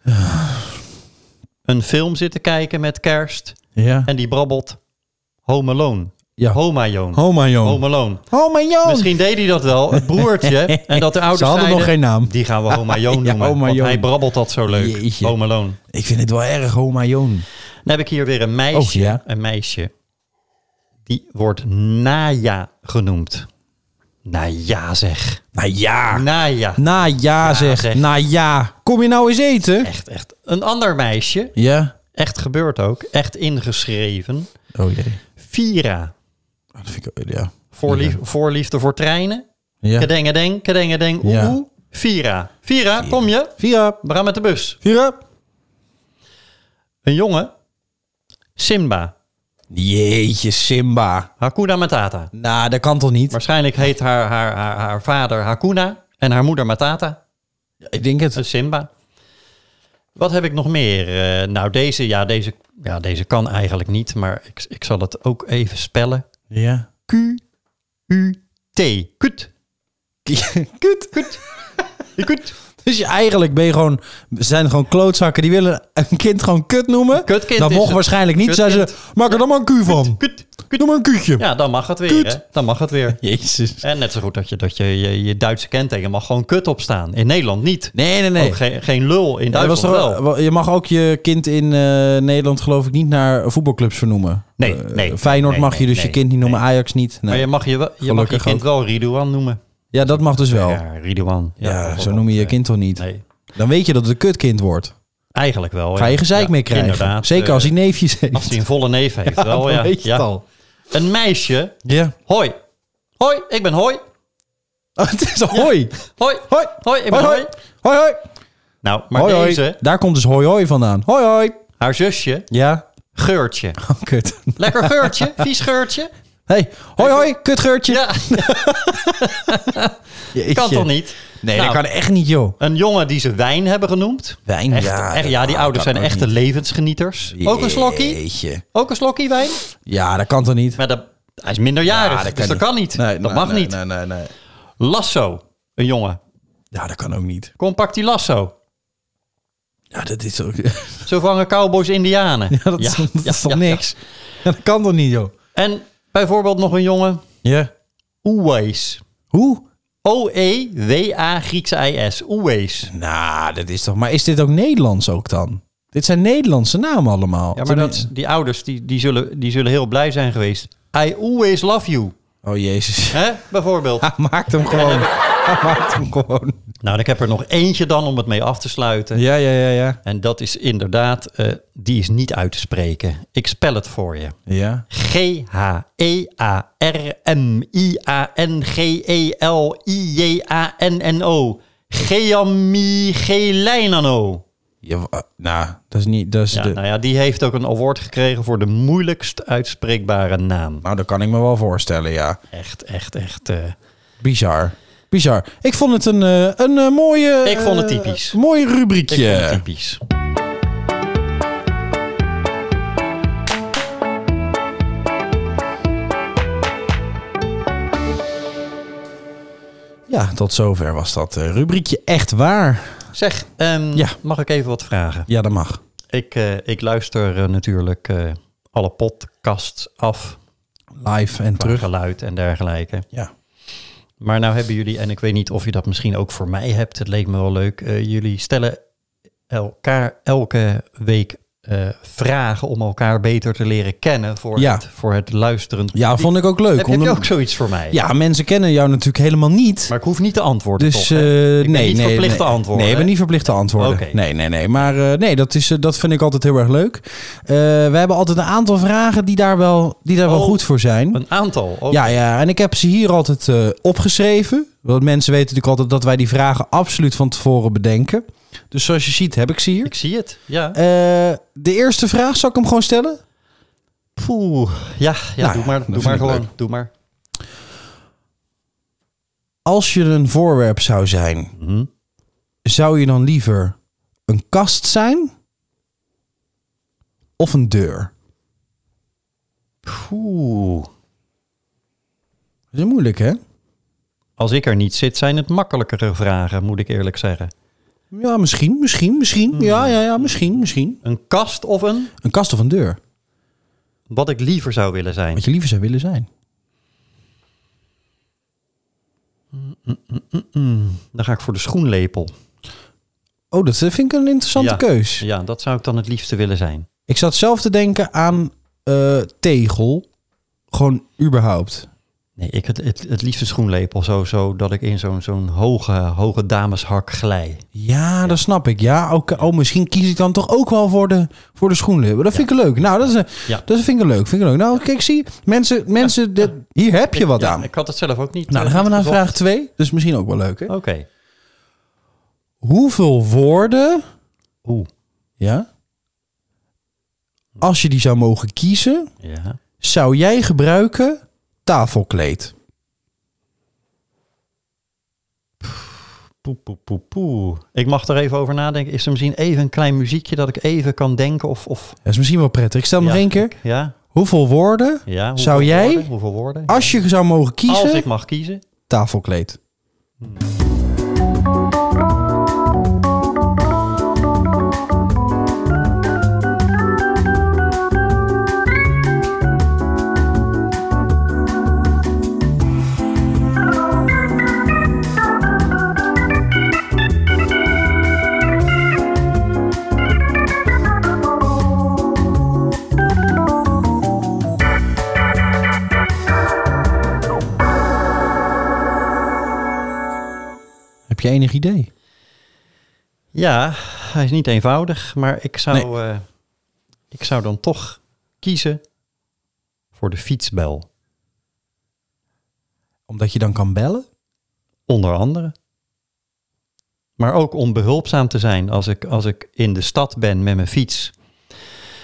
Speaker 2: een film zit te kijken met kerst.
Speaker 1: Ja.
Speaker 2: En die brabbelt Home Alone.
Speaker 1: Ja.
Speaker 2: Homa Joon.
Speaker 1: Homa,
Speaker 2: Home
Speaker 1: Joon.
Speaker 2: Alone.
Speaker 1: Homa, Joon.
Speaker 2: Misschien deed hij dat wel, het broertje. en dat de ouders
Speaker 1: Ze hadden
Speaker 2: zeiden,
Speaker 1: nog geen naam.
Speaker 2: Die gaan we Homa Joon
Speaker 1: Ja,
Speaker 2: noemen.
Speaker 1: Home
Speaker 2: want
Speaker 1: Alone.
Speaker 2: hij brabbelt dat zo leuk.
Speaker 1: Jeetje.
Speaker 2: Home Alone.
Speaker 1: Ik vind het wel erg Homa, Joon.
Speaker 2: Dan heb ik hier weer een meisje.
Speaker 1: Oh, ja.
Speaker 2: Een meisje. Die wordt Naya genoemd. Naya zeg.
Speaker 1: Nou ja.
Speaker 2: Naya.
Speaker 1: Nou ja, zeg.
Speaker 2: zeg.
Speaker 1: Nou ja. Kom je nou eens eten?
Speaker 2: Echt, echt. Een ander meisje.
Speaker 1: Ja.
Speaker 2: Echt gebeurd ook. Echt ingeschreven.
Speaker 1: Oh jee.
Speaker 2: Vira.
Speaker 1: Ah, Dat vind ik, ja.
Speaker 2: Voorlief, Voorliefde voor treinen.
Speaker 1: ja.
Speaker 2: Kedengedeng, kedengedeng, oeh.
Speaker 1: Ja.
Speaker 2: oeh. Vira. Vira, kom je?
Speaker 1: Vira.
Speaker 2: We gaan met de bus.
Speaker 1: Vira.
Speaker 2: Een jongen. Simba.
Speaker 1: Jeetje, Simba.
Speaker 2: Hakuna Matata.
Speaker 1: Nou, dat kan toch niet?
Speaker 2: Waarschijnlijk heet haar, haar, haar, haar vader Hakuna en haar moeder Matata.
Speaker 1: ik denk het.
Speaker 2: Een Simba. Wat heb ik nog meer? Eh, nou, deze, ja, deze, ja, deze kan eigenlijk niet, maar ik, ik zal het ook even spellen.
Speaker 1: Ja.
Speaker 2: Q-U-T. Kut.
Speaker 1: Kut.
Speaker 2: Kut.
Speaker 1: Dus je, eigenlijk ben je gewoon, we zijn gewoon klootzakken die willen een kind gewoon kut noemen.
Speaker 2: Kutkind
Speaker 1: dat
Speaker 2: is
Speaker 1: mocht
Speaker 2: het.
Speaker 1: waarschijnlijk niet. Zijn ze,
Speaker 2: Kutkind.
Speaker 1: maak er dan maar een Q van.
Speaker 2: Kut.
Speaker 1: Doe maar een Q'tje.
Speaker 2: Ja, dan mag het weer.
Speaker 1: Kut.
Speaker 2: Hè? Dan mag het weer.
Speaker 1: Jezus.
Speaker 2: En net zo goed dat je dat je, je, je Duitse kenteken mag gewoon kut opstaan. In Nederland niet.
Speaker 1: Nee, nee, nee.
Speaker 2: Ook geen, geen lul. In
Speaker 1: Ja, dat was
Speaker 2: Duitsland
Speaker 1: toch
Speaker 2: wel.
Speaker 1: wel- wel- je mag ook je kind in eh, Nederland geloof ik niet naar voetbalclubs vernoemen.
Speaker 2: Nee,
Speaker 1: Eh,
Speaker 2: nee.
Speaker 1: Feyenoord
Speaker 2: Nee,
Speaker 1: mag
Speaker 2: nee,
Speaker 1: je dus
Speaker 2: nee,
Speaker 1: je kind niet noemen, Ajax niet. Nee.
Speaker 2: Maar je mag je, wel- je, mag je
Speaker 1: Gelukkig
Speaker 2: kind
Speaker 1: ook.
Speaker 2: wel Ridouan noemen.
Speaker 1: ja, dat mag dus wel. Ja,
Speaker 2: Ja, Ridouan.
Speaker 1: zo noem je je kind toch niet?
Speaker 2: Nee,
Speaker 1: Dan weet je dat het een kutkind wordt.
Speaker 2: eigenlijk wel.
Speaker 1: Ga je
Speaker 2: ja.
Speaker 1: gezeik
Speaker 2: Ja,
Speaker 1: mee krijgen.
Speaker 2: Inderdaad. eh,
Speaker 1: Zeker als hij neefjes heeft.
Speaker 2: Als hij een volle neef heeft. wel,
Speaker 1: dan
Speaker 2: ja.
Speaker 1: weet je
Speaker 2: ja.
Speaker 1: het al.
Speaker 2: Een meisje.
Speaker 1: Ja.
Speaker 2: Hoi. Hoi, ik ben Hoi.
Speaker 1: Oh, het is hoi.
Speaker 2: Hoi.
Speaker 1: Hoi.
Speaker 2: Hoi, ik ben Hoi.
Speaker 1: Hoi, hoi. hoi.
Speaker 2: Nou, maar
Speaker 1: hoi, hoi.
Speaker 2: deze,
Speaker 1: Daar komt dus hoi hoi vandaan. Hoi hoi.
Speaker 2: haar zusje,
Speaker 1: Ja.
Speaker 2: Geurtje.
Speaker 1: Oh, kut.
Speaker 2: Lekker geurtje, vies geurtje.
Speaker 1: Hey, hoi hoi, kutgeurtje.
Speaker 2: Ja,
Speaker 1: Jeetje.
Speaker 2: kan toch niet?
Speaker 1: Nee,
Speaker 2: Nou,
Speaker 1: dat kan echt niet, joh.
Speaker 2: Een jongen die ze wijn hebben genoemd.
Speaker 1: Wijn,
Speaker 2: Echt,
Speaker 1: ja.
Speaker 2: echt,
Speaker 1: dat-
Speaker 2: ja, die
Speaker 1: ah,
Speaker 2: ouders
Speaker 1: kan
Speaker 2: zijn
Speaker 1: ook
Speaker 2: echte
Speaker 1: niet.
Speaker 2: levensgenieters. Ook een slokkie?
Speaker 1: Jeetje.
Speaker 2: Ook een slokkie wijn?
Speaker 1: Ja, dat kan toch niet?
Speaker 2: Maar dat, hij is minderjarig,
Speaker 1: Ja, dat
Speaker 2: dus
Speaker 1: kan
Speaker 2: dat kan niet.
Speaker 1: Nee, nee,
Speaker 2: dat mag
Speaker 1: nee,
Speaker 2: niet.
Speaker 1: Nee, nee, nee.
Speaker 2: Lasso, een jongen.
Speaker 1: Ja, dat kan ook niet.
Speaker 2: Kom, pak die lasso.
Speaker 1: Ja, dat is ook...
Speaker 2: Zo vangen cowboys indianen.
Speaker 1: Ja, dat, is, dat is toch
Speaker 2: ja,
Speaker 1: niks?
Speaker 2: ja.
Speaker 1: Ja, dat kan toch niet, joh?
Speaker 2: En bijvoorbeeld nog een jongen,
Speaker 1: Ja.
Speaker 2: Oeways.
Speaker 1: Hoe?
Speaker 2: O-E-W-A, Griekse I-S. Oeways.
Speaker 1: Nou, dat is toch... Maar is dit ook Nederlands ook dan? Dit zijn Nederlandse namen allemaal.
Speaker 2: Ja, maar dat, die ouders die, die, zullen, die zullen heel blij zijn geweest. I always love you,
Speaker 1: Oh, jezus.
Speaker 2: hè? bijvoorbeeld.
Speaker 1: Hij maakt hem gewoon. Hij maakt hem gewoon.
Speaker 2: Nou, en ik heb er nog eentje dan om het mee af te sluiten.
Speaker 1: Ja, ja, ja, ja.
Speaker 2: En dat is inderdaad, eh, die is niet uit te spreken. Ik spel het voor je. E
Speaker 1: Ja.
Speaker 2: E G-H-E-A-R-M-I-A-N-G-E-L-I-J-A-N-N-O. E Geamigelijnano.
Speaker 1: ja wa- nou, dat is niet. Dat is
Speaker 2: Ja,
Speaker 1: de,
Speaker 2: nou ja, die heeft ook een award gekregen voor de moeilijkst uitspreekbare naam.
Speaker 1: nou, dat kan ik me wel voorstellen, ja.
Speaker 2: Echt, echt, echt. eh,
Speaker 1: Bizar. Bizar. Ik vond het een, eh, een eh, mooie...
Speaker 2: Ik vond het
Speaker 1: eh,
Speaker 2: typisch.
Speaker 1: mooi
Speaker 2: ik
Speaker 1: rubriekje.
Speaker 2: vind het typisch.
Speaker 1: Ja, tot zover was dat eh, rubriekje echt waar.
Speaker 2: Zeg, ehm,
Speaker 1: Ja.
Speaker 2: mag ik even wat vragen?
Speaker 1: Ja, dat mag.
Speaker 2: Ik, eh, ik luister eh, natuurlijk eh, alle podcasts af.
Speaker 1: Live en
Speaker 2: Terug.
Speaker 1: terug.
Speaker 2: Geluid en dergelijke.
Speaker 1: Ja.
Speaker 2: Maar nou hebben jullie, en ik weet niet of je dat misschien ook voor mij hebt, het leek me wel leuk. eh, jullie stellen elkaar elke week eh, vragen om elkaar beter te leren kennen voor,
Speaker 1: Ja.
Speaker 2: het, voor het luisteren.
Speaker 1: ja, vond ik ook leuk.
Speaker 2: heb, heb je
Speaker 1: Omdat-
Speaker 2: ook zoiets voor mij?
Speaker 1: Ja, mensen kennen jou natuurlijk helemaal niet.
Speaker 2: Maar ik hoef niet te antwoorden.
Speaker 1: Dus
Speaker 2: toch,
Speaker 1: eh,
Speaker 2: hè? ik
Speaker 1: nee,
Speaker 2: ben niet
Speaker 1: nee,
Speaker 2: verplicht te
Speaker 1: nee.
Speaker 2: antwoorden.
Speaker 1: Nee, ik ben
Speaker 2: hè?
Speaker 1: niet verplicht te antwoorden.
Speaker 2: Oké.
Speaker 1: Nee, nee, nee. Maar eh, nee, dat, is, eh, dat vind ik altijd heel erg leuk. Eh, we hebben altijd een aantal vragen die daar wel, die daar wel
Speaker 2: Oh.
Speaker 1: goed voor zijn.
Speaker 2: Een aantal. Oh, ook.
Speaker 1: Ja, ja, en ik heb ze hier altijd eh, opgeschreven. Want mensen weten natuurlijk altijd dat wij die vragen absoluut van tevoren bedenken. Dus zoals je ziet, heb ik ze hier.
Speaker 2: Ik zie het. Ja.
Speaker 1: Eh, de eerste vraag, zal ik hem gewoon stellen?
Speaker 2: Poeh. Ja, ja
Speaker 1: Nou
Speaker 2: doe
Speaker 1: ja,
Speaker 2: maar,
Speaker 1: dat
Speaker 2: doe
Speaker 1: vind
Speaker 2: maar
Speaker 1: ik
Speaker 2: gewoon.
Speaker 1: leuk.
Speaker 2: Doe maar.
Speaker 1: Als je een voorwerp zou zijn,
Speaker 2: Mhm.
Speaker 1: zou je dan liever een kast zijn of een deur?
Speaker 2: Poeh.
Speaker 1: Dat is moeilijk, hè?
Speaker 2: Als ik er niet zit, zijn het makkelijkere vragen, moet ik eerlijk zeggen.
Speaker 1: Ja, misschien, misschien,
Speaker 2: Mhm.
Speaker 1: misschien. Ja, ja, ja, misschien, misschien.
Speaker 2: Een kast of een
Speaker 1: Een kast of een deur?
Speaker 2: wat ik liever zou willen zijn.
Speaker 1: Wat je liever zou willen zijn.
Speaker 2: Dan ga ik voor de schoenlepel.
Speaker 1: Oh, dat eh, vind ik een interessante
Speaker 2: Ja.
Speaker 1: keus.
Speaker 2: Ja, dat zou ik dan het liefste willen zijn.
Speaker 1: Ik zat zelf te denken aan eh, tegel. Gewoon überhaupt.
Speaker 2: Nee, ik het, het, het liefste schoenlepel zo, zo dat ik in zo'n zo'n hoge, hoge dameshak glij.
Speaker 1: Ja, dat snap ik. Ja, oké. oh, misschien kies ik dan toch ook wel voor de, voor de schoenlabel. Dat vind ik leuk. Nou, dat, is, een-
Speaker 2: Ja.
Speaker 1: dat vind ik leuk. Vind ik leuk. Nou, kijk, zie. Mensen, mensen dit- hier heb je wat
Speaker 2: Ja,
Speaker 1: aan.
Speaker 2: Ik had het zelf ook niet.
Speaker 1: Nou, dan
Speaker 2: eh,
Speaker 1: gaan we
Speaker 2: niet
Speaker 1: naar
Speaker 2: gezocht.
Speaker 1: vraag 2. Dus misschien ook wel leuk. Hè?
Speaker 2: Oké.
Speaker 1: Hoeveel woorden,
Speaker 2: Oeh.
Speaker 1: ja, als je die zou mogen kiezen,
Speaker 2: Ja.
Speaker 1: zou jij gebruiken tafelkleed?
Speaker 2: Poe, poe, poe, poe. Ik mag er even over nadenken. Is er misschien even een klein muziekje dat ik even kan denken? Of, of...
Speaker 1: Dat is misschien wel prettig. Ik stel hem
Speaker 2: Ja,
Speaker 1: nog één keer.
Speaker 2: ik- Ja.
Speaker 1: Hoeveel woorden,
Speaker 2: ja. Hoeveel
Speaker 1: Zou jij-
Speaker 2: woorden? Hoeveel woorden?
Speaker 1: als je zou mogen
Speaker 2: Als
Speaker 1: kiezen,
Speaker 2: ik mag kiezen.
Speaker 1: tafelkleed? Heb je enig idee?
Speaker 2: Ja, hij is niet eenvoudig. Maar ik zou, eh, ik zou dan toch kiezen voor de fietsbel.
Speaker 1: Omdat je dan kan bellen?
Speaker 2: Onder andere. Maar ook om behulpzaam te zijn als ik, als ik in de stad ben met mijn fiets.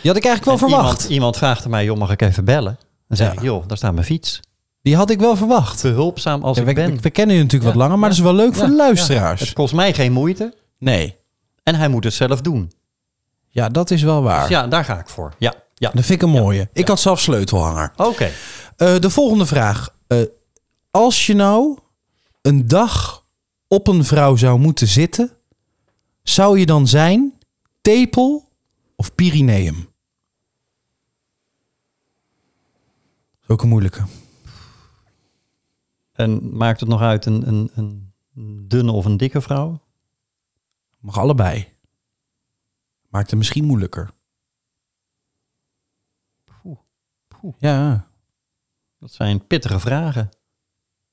Speaker 1: Die had ik eigenlijk wel
Speaker 2: En
Speaker 1: verwacht.
Speaker 2: Iemand, iemand vraagt aan mij, joh, mag ik even bellen? Dan zeg
Speaker 1: Ja.
Speaker 2: ik, joh, daar staat mijn fiets.
Speaker 1: Die had ik wel verwacht.
Speaker 2: Behulpzaam als
Speaker 1: Ja,
Speaker 2: ik
Speaker 1: we,
Speaker 2: ben.
Speaker 1: we- we kennen je natuurlijk
Speaker 2: Ja,
Speaker 1: wat langer, maar
Speaker 2: ja.
Speaker 1: dat is wel leuk voor de
Speaker 2: Ja, ja.
Speaker 1: luisteraars.
Speaker 2: Het kost mij geen moeite
Speaker 1: Nee.
Speaker 2: en hij moet het zelf doen.
Speaker 1: Ja, dat is wel waar.
Speaker 2: Dus ja, daar ga ik voor. Ja, ja.
Speaker 1: Dat vind ik een mooie. Ik had zelf sleutelhanger.
Speaker 2: Oké.
Speaker 1: Eh, de volgende vraag. Eh, als je nou een dag op een vrouw zou moeten zitten, zou je dan zijn tepel of Pyreneeum? Dat is ook een moeilijke.
Speaker 2: En maakt het nog uit een, een, een dunne of een dikke vrouw?
Speaker 1: Mag allebei. Maakt het misschien moeilijker. Ja.
Speaker 2: Dat zijn pittige vragen.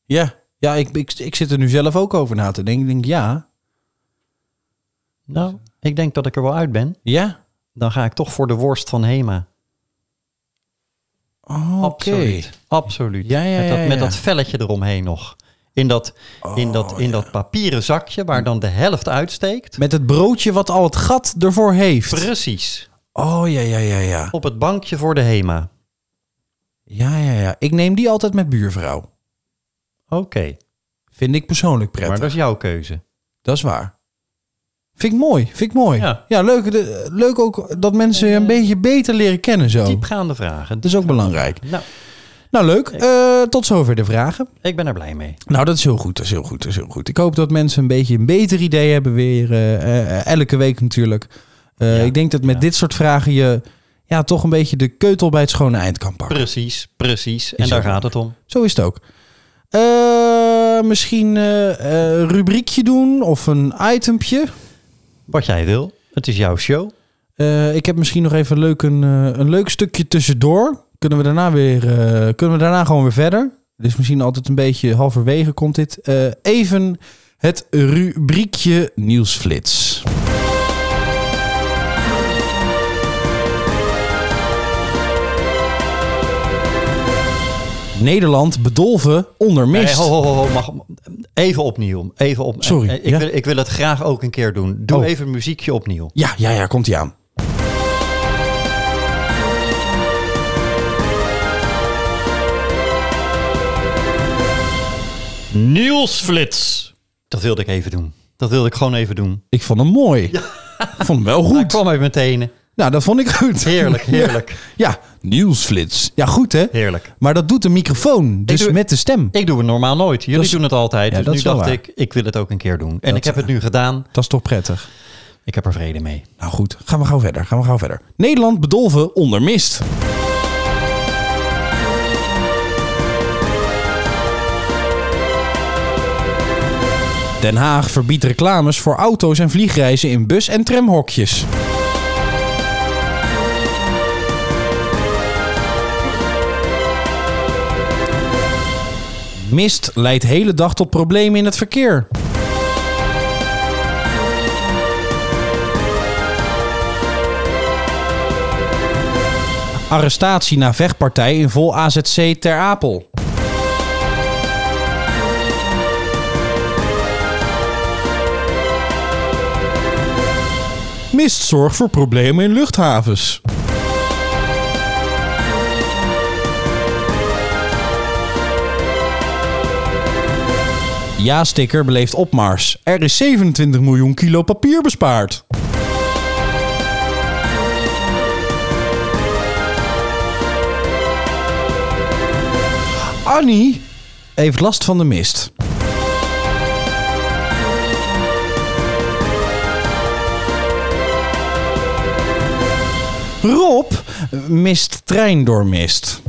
Speaker 1: Ja, ja ik, ik, ik zit er nu zelf ook over na te denken. Ik denk, ja.
Speaker 2: Nou, ik denk dat ik er wel uit ben.
Speaker 1: Ja?
Speaker 2: Dan ga ik toch voor de worst van Hema.
Speaker 1: Oh, Oké.
Speaker 2: Absoluut. Absoluut.
Speaker 1: Ja, ja,
Speaker 2: met, dat,
Speaker 1: ja,
Speaker 2: met
Speaker 1: ja. Oh,
Speaker 2: dat velletje eromheen nog. In dat, in dat, in dat papieren zakje waar dan de helft uitsteekt.
Speaker 1: Met het broodje wat al het gat ervoor heeft.
Speaker 2: Precies.
Speaker 1: Oh, ja, ja, ja, ja.
Speaker 2: Op het bankje voor de Hema.
Speaker 1: Ja, ja, ja. Ik neem die altijd met buurvrouw.
Speaker 2: Oké.
Speaker 1: Vind ik persoonlijk prettig.
Speaker 2: Maar dat
Speaker 1: dat...
Speaker 2: is jouw keuze.
Speaker 1: is waar. Vind ik mooi, vind ik mooi.
Speaker 2: Ja.
Speaker 1: leuk, de- leuk ook dat mensen je een beetje beter leren kennen zo.
Speaker 2: Diepgaande vragen.
Speaker 1: Dat is ook belangrijk.
Speaker 2: Nou,
Speaker 1: Nou, leuk. Eh, tot zover de vragen.
Speaker 2: ik ben er blij mee.
Speaker 1: Nou, dat is heel goed, dat is heel goed, dat is heel goed. Ik hoop dat mensen een beetje een beter idee hebben weer. eh, eh, eh, elke week natuurlijk. Eh,
Speaker 2: Ja,
Speaker 1: ik denk dat met
Speaker 2: ja.
Speaker 1: dit soort vragen je ja, toch een beetje de keutel bij het schone eind kan pakken.
Speaker 2: Precies, precies. En daar
Speaker 1: ook
Speaker 2: gaat het om.
Speaker 1: Zo is het ook. Eh, misschien eh, eh, rubriekje doen of een itempje.
Speaker 2: Wat jij wil. Het is jouw show.
Speaker 1: Eh, ik heb misschien nog even leuk een, eh, een leuk stukje tussendoor. Kunnen we daarna weer eh, kunnen we daarna gewoon weer verder. Dus misschien altijd een beetje halverwege komt dit. Eh, even het rubriekje nieuwsflits. Nederland bedolven onder mist.
Speaker 2: Nee, ho, ho, ho, ho, mag, even opnieuw. Even op,
Speaker 1: Sorry,
Speaker 2: eh, Ik,
Speaker 1: ja?
Speaker 2: wil, ik wil het graag ook een keer doen. Doe
Speaker 1: Oh.
Speaker 2: even een muziekje opnieuw.
Speaker 1: Ja, ja, ja, komt ie aan.
Speaker 2: Nieuwsflits. Dat wilde ik even doen. Dat wilde ik gewoon even doen.
Speaker 1: Ik vond hem mooi. Ik vond hem wel
Speaker 2: Hij
Speaker 1: goed.
Speaker 2: kwam uit mijn tenen.
Speaker 1: Nou, dat vond ik goed.
Speaker 2: Heerlijk, heerlijk.
Speaker 1: Ja, nieuwsflits. Ja, goed hè?
Speaker 2: Heerlijk.
Speaker 1: Maar dat doet de microfoon, dus
Speaker 2: doe-
Speaker 1: met de stem.
Speaker 2: Ik doe het normaal nooit. Jullie
Speaker 1: Dat is-
Speaker 2: doen het altijd.
Speaker 1: Ja, dat
Speaker 2: dus nu
Speaker 1: is wel
Speaker 2: dacht
Speaker 1: waar.
Speaker 2: ik, ik wil het ook een keer doen. En
Speaker 1: Dat
Speaker 2: ik heb
Speaker 1: is
Speaker 2: het nu gedaan.
Speaker 1: Dat is toch prettig?
Speaker 2: Ik heb er vrede mee.
Speaker 1: Nou goed, gaan we gauw verder. Gaan we gauw verder. Nederland bedolven onder mist. Den Haag verbiedt reclames voor auto's en vliegreizen in bus- en tramhokjes. Mist leidt hele dag tot problemen in het verkeer. Arrestatie na vechtpartij in vol AZC Ter Apel. Mist zorgt voor problemen in luchthavens. Ja-sticker beleeft opmars. Er is 27 miljoen kilo papier bespaard. Annie heeft last van de mist. Rob mist trein door mist.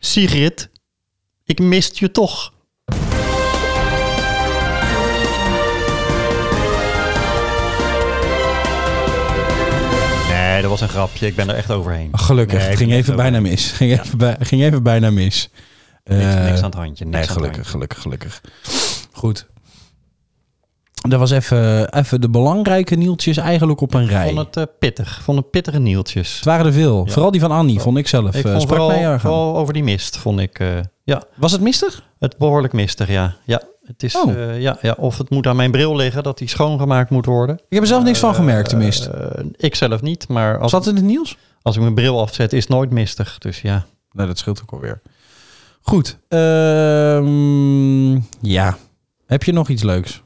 Speaker 2: Sigrid, ik mist je toch. Nee, dat was een grapje. Ik ben er echt overheen.
Speaker 1: Gelukkig,
Speaker 2: Nee,
Speaker 1: het
Speaker 2: ik
Speaker 1: ging
Speaker 2: ben
Speaker 1: even
Speaker 2: er
Speaker 1: bijna
Speaker 2: overheen.
Speaker 1: mis. Ging, even, bij- ging even bijna mis.
Speaker 2: Niks,
Speaker 1: Eh,
Speaker 2: niks aan het handje. Niks
Speaker 1: Nee,
Speaker 2: aan het
Speaker 1: gelukkig, gelukkig, gelukkig. Goed. Dat was even, even de belangrijke nieltjes eigenlijk op een
Speaker 2: handje.
Speaker 1: rij.
Speaker 2: Ik vond het eh, pittig. Ik vond het pittige nieltjes.
Speaker 1: Het waren er veel.
Speaker 2: Ja.
Speaker 1: Vooral die van Annie, vond ik zelf.
Speaker 2: Ik
Speaker 1: Eh,
Speaker 2: vond
Speaker 1: sprak mij
Speaker 2: vooral,
Speaker 1: erg aan.
Speaker 2: vooral over die mist, vond ik. eh, ja,
Speaker 1: Was het mistig?
Speaker 2: het behoorlijk mistig, ja. ja. Het is,
Speaker 1: Oh.
Speaker 2: eh, ja, ja, of het moet aan mijn bril liggen, dat die schoongemaakt moet worden.
Speaker 1: Ik heb er zelf niks van gemerkt, de mist.
Speaker 2: Eh, ik zelf niet, maar als,
Speaker 1: Zat het in het nieuws?
Speaker 2: als ik mijn bril afzet, is het nooit mistig. Dus ja,
Speaker 1: Nou, dat scheelt ook alweer. Goed. ehm, ja. Heb je nog iets leuks?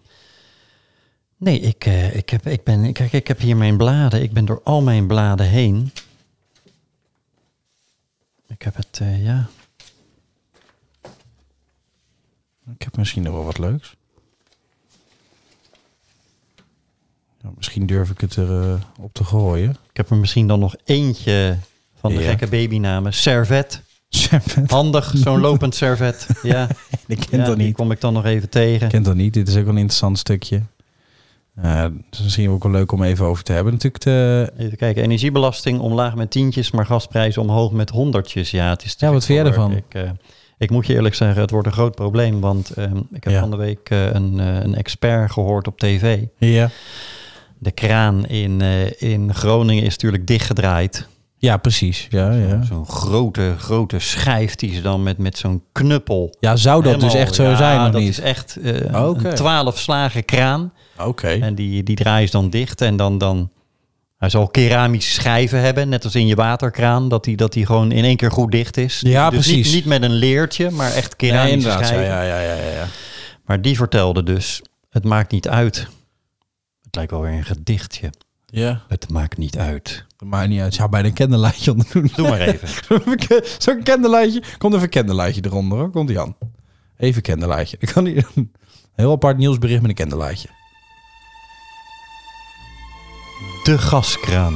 Speaker 2: Nee, ik, eh, ik, heb, ik, ben, kijk, ik heb hier mijn bladen. Ik ben door al mijn bladen heen. Ik heb het, eh, ja.
Speaker 1: Ik heb misschien nog wel wat leuks. Nou, misschien durf ik het erop op te gooien.
Speaker 2: Ik heb er misschien dan nog eentje van de
Speaker 1: Ja.
Speaker 2: gekke babynamen. Servet.
Speaker 1: Servet.
Speaker 2: Handig, zo'n lopend servet. Ja,
Speaker 1: Oh, Ik ken
Speaker 2: ja
Speaker 1: dat
Speaker 2: die
Speaker 1: niet.
Speaker 2: kom ik dan nog even tegen.
Speaker 1: kent dat niet. Dit is ook wel een interessant stukje. Eh, het is misschien ook wel leuk om even over te hebben. Natuurlijk de...
Speaker 2: Even kijken, energiebelasting omlaag met tientjes, maar gasprijzen omhoog met honderdjes. Ja, het is te
Speaker 1: Ja, wat
Speaker 2: gek
Speaker 1: vind jij
Speaker 2: voor.
Speaker 1: ervan?
Speaker 2: Ik, eh, ik moet je eerlijk zeggen, het wordt een groot probleem, want ehm, ik heb
Speaker 1: Ja.
Speaker 2: van de week eh, een, eh, een expert gehoord op tv.
Speaker 1: Ja.
Speaker 2: De kraan in, eh, in Groningen is natuurlijk dichtgedraaid.
Speaker 1: Ja, precies. Ja, Oh, ja.
Speaker 2: Zo'n grote, grote schijf die ze dan met, met zo'n knuppel.
Speaker 1: ja zou dat dus
Speaker 2: Helemaal-
Speaker 1: echt zo
Speaker 2: ja,
Speaker 1: zijn of
Speaker 2: dat
Speaker 1: niet?
Speaker 2: is echt eh
Speaker 1: Oké.
Speaker 2: een twaalf slagen kraan.
Speaker 1: Oké.
Speaker 2: En die, die draai je dan dicht. En dan, dan hij zal keramische schijven hebben, net als in je waterkraan. Dat die, dat die gewoon in één keer goed dicht is.
Speaker 1: Ja,
Speaker 2: dus
Speaker 1: precies.
Speaker 2: Niet, niet met een leertje, maar echt
Speaker 1: Nee,
Speaker 2: keramische
Speaker 1: inderdaad. Ja,
Speaker 2: schijven.
Speaker 1: ja, ja, ja, ja.
Speaker 2: Maar die vertelde dus, het maakt niet uit. Het lijkt wel weer een gedichtje.
Speaker 1: ja.
Speaker 2: Het maakt niet uit.
Speaker 1: Dat maakt niet uit. Ik zou bijna een kenderlijntje onder doen.
Speaker 2: Doe maar even.
Speaker 1: Zo'n kenderlijntje. Komt even een kenderlijntje eronder. Hoor. Komt die aan. Even een kenderlijntje. Ik kan niet... Een heel apart nieuwsbericht met een kenderlijntje.
Speaker 2: De gaskraan.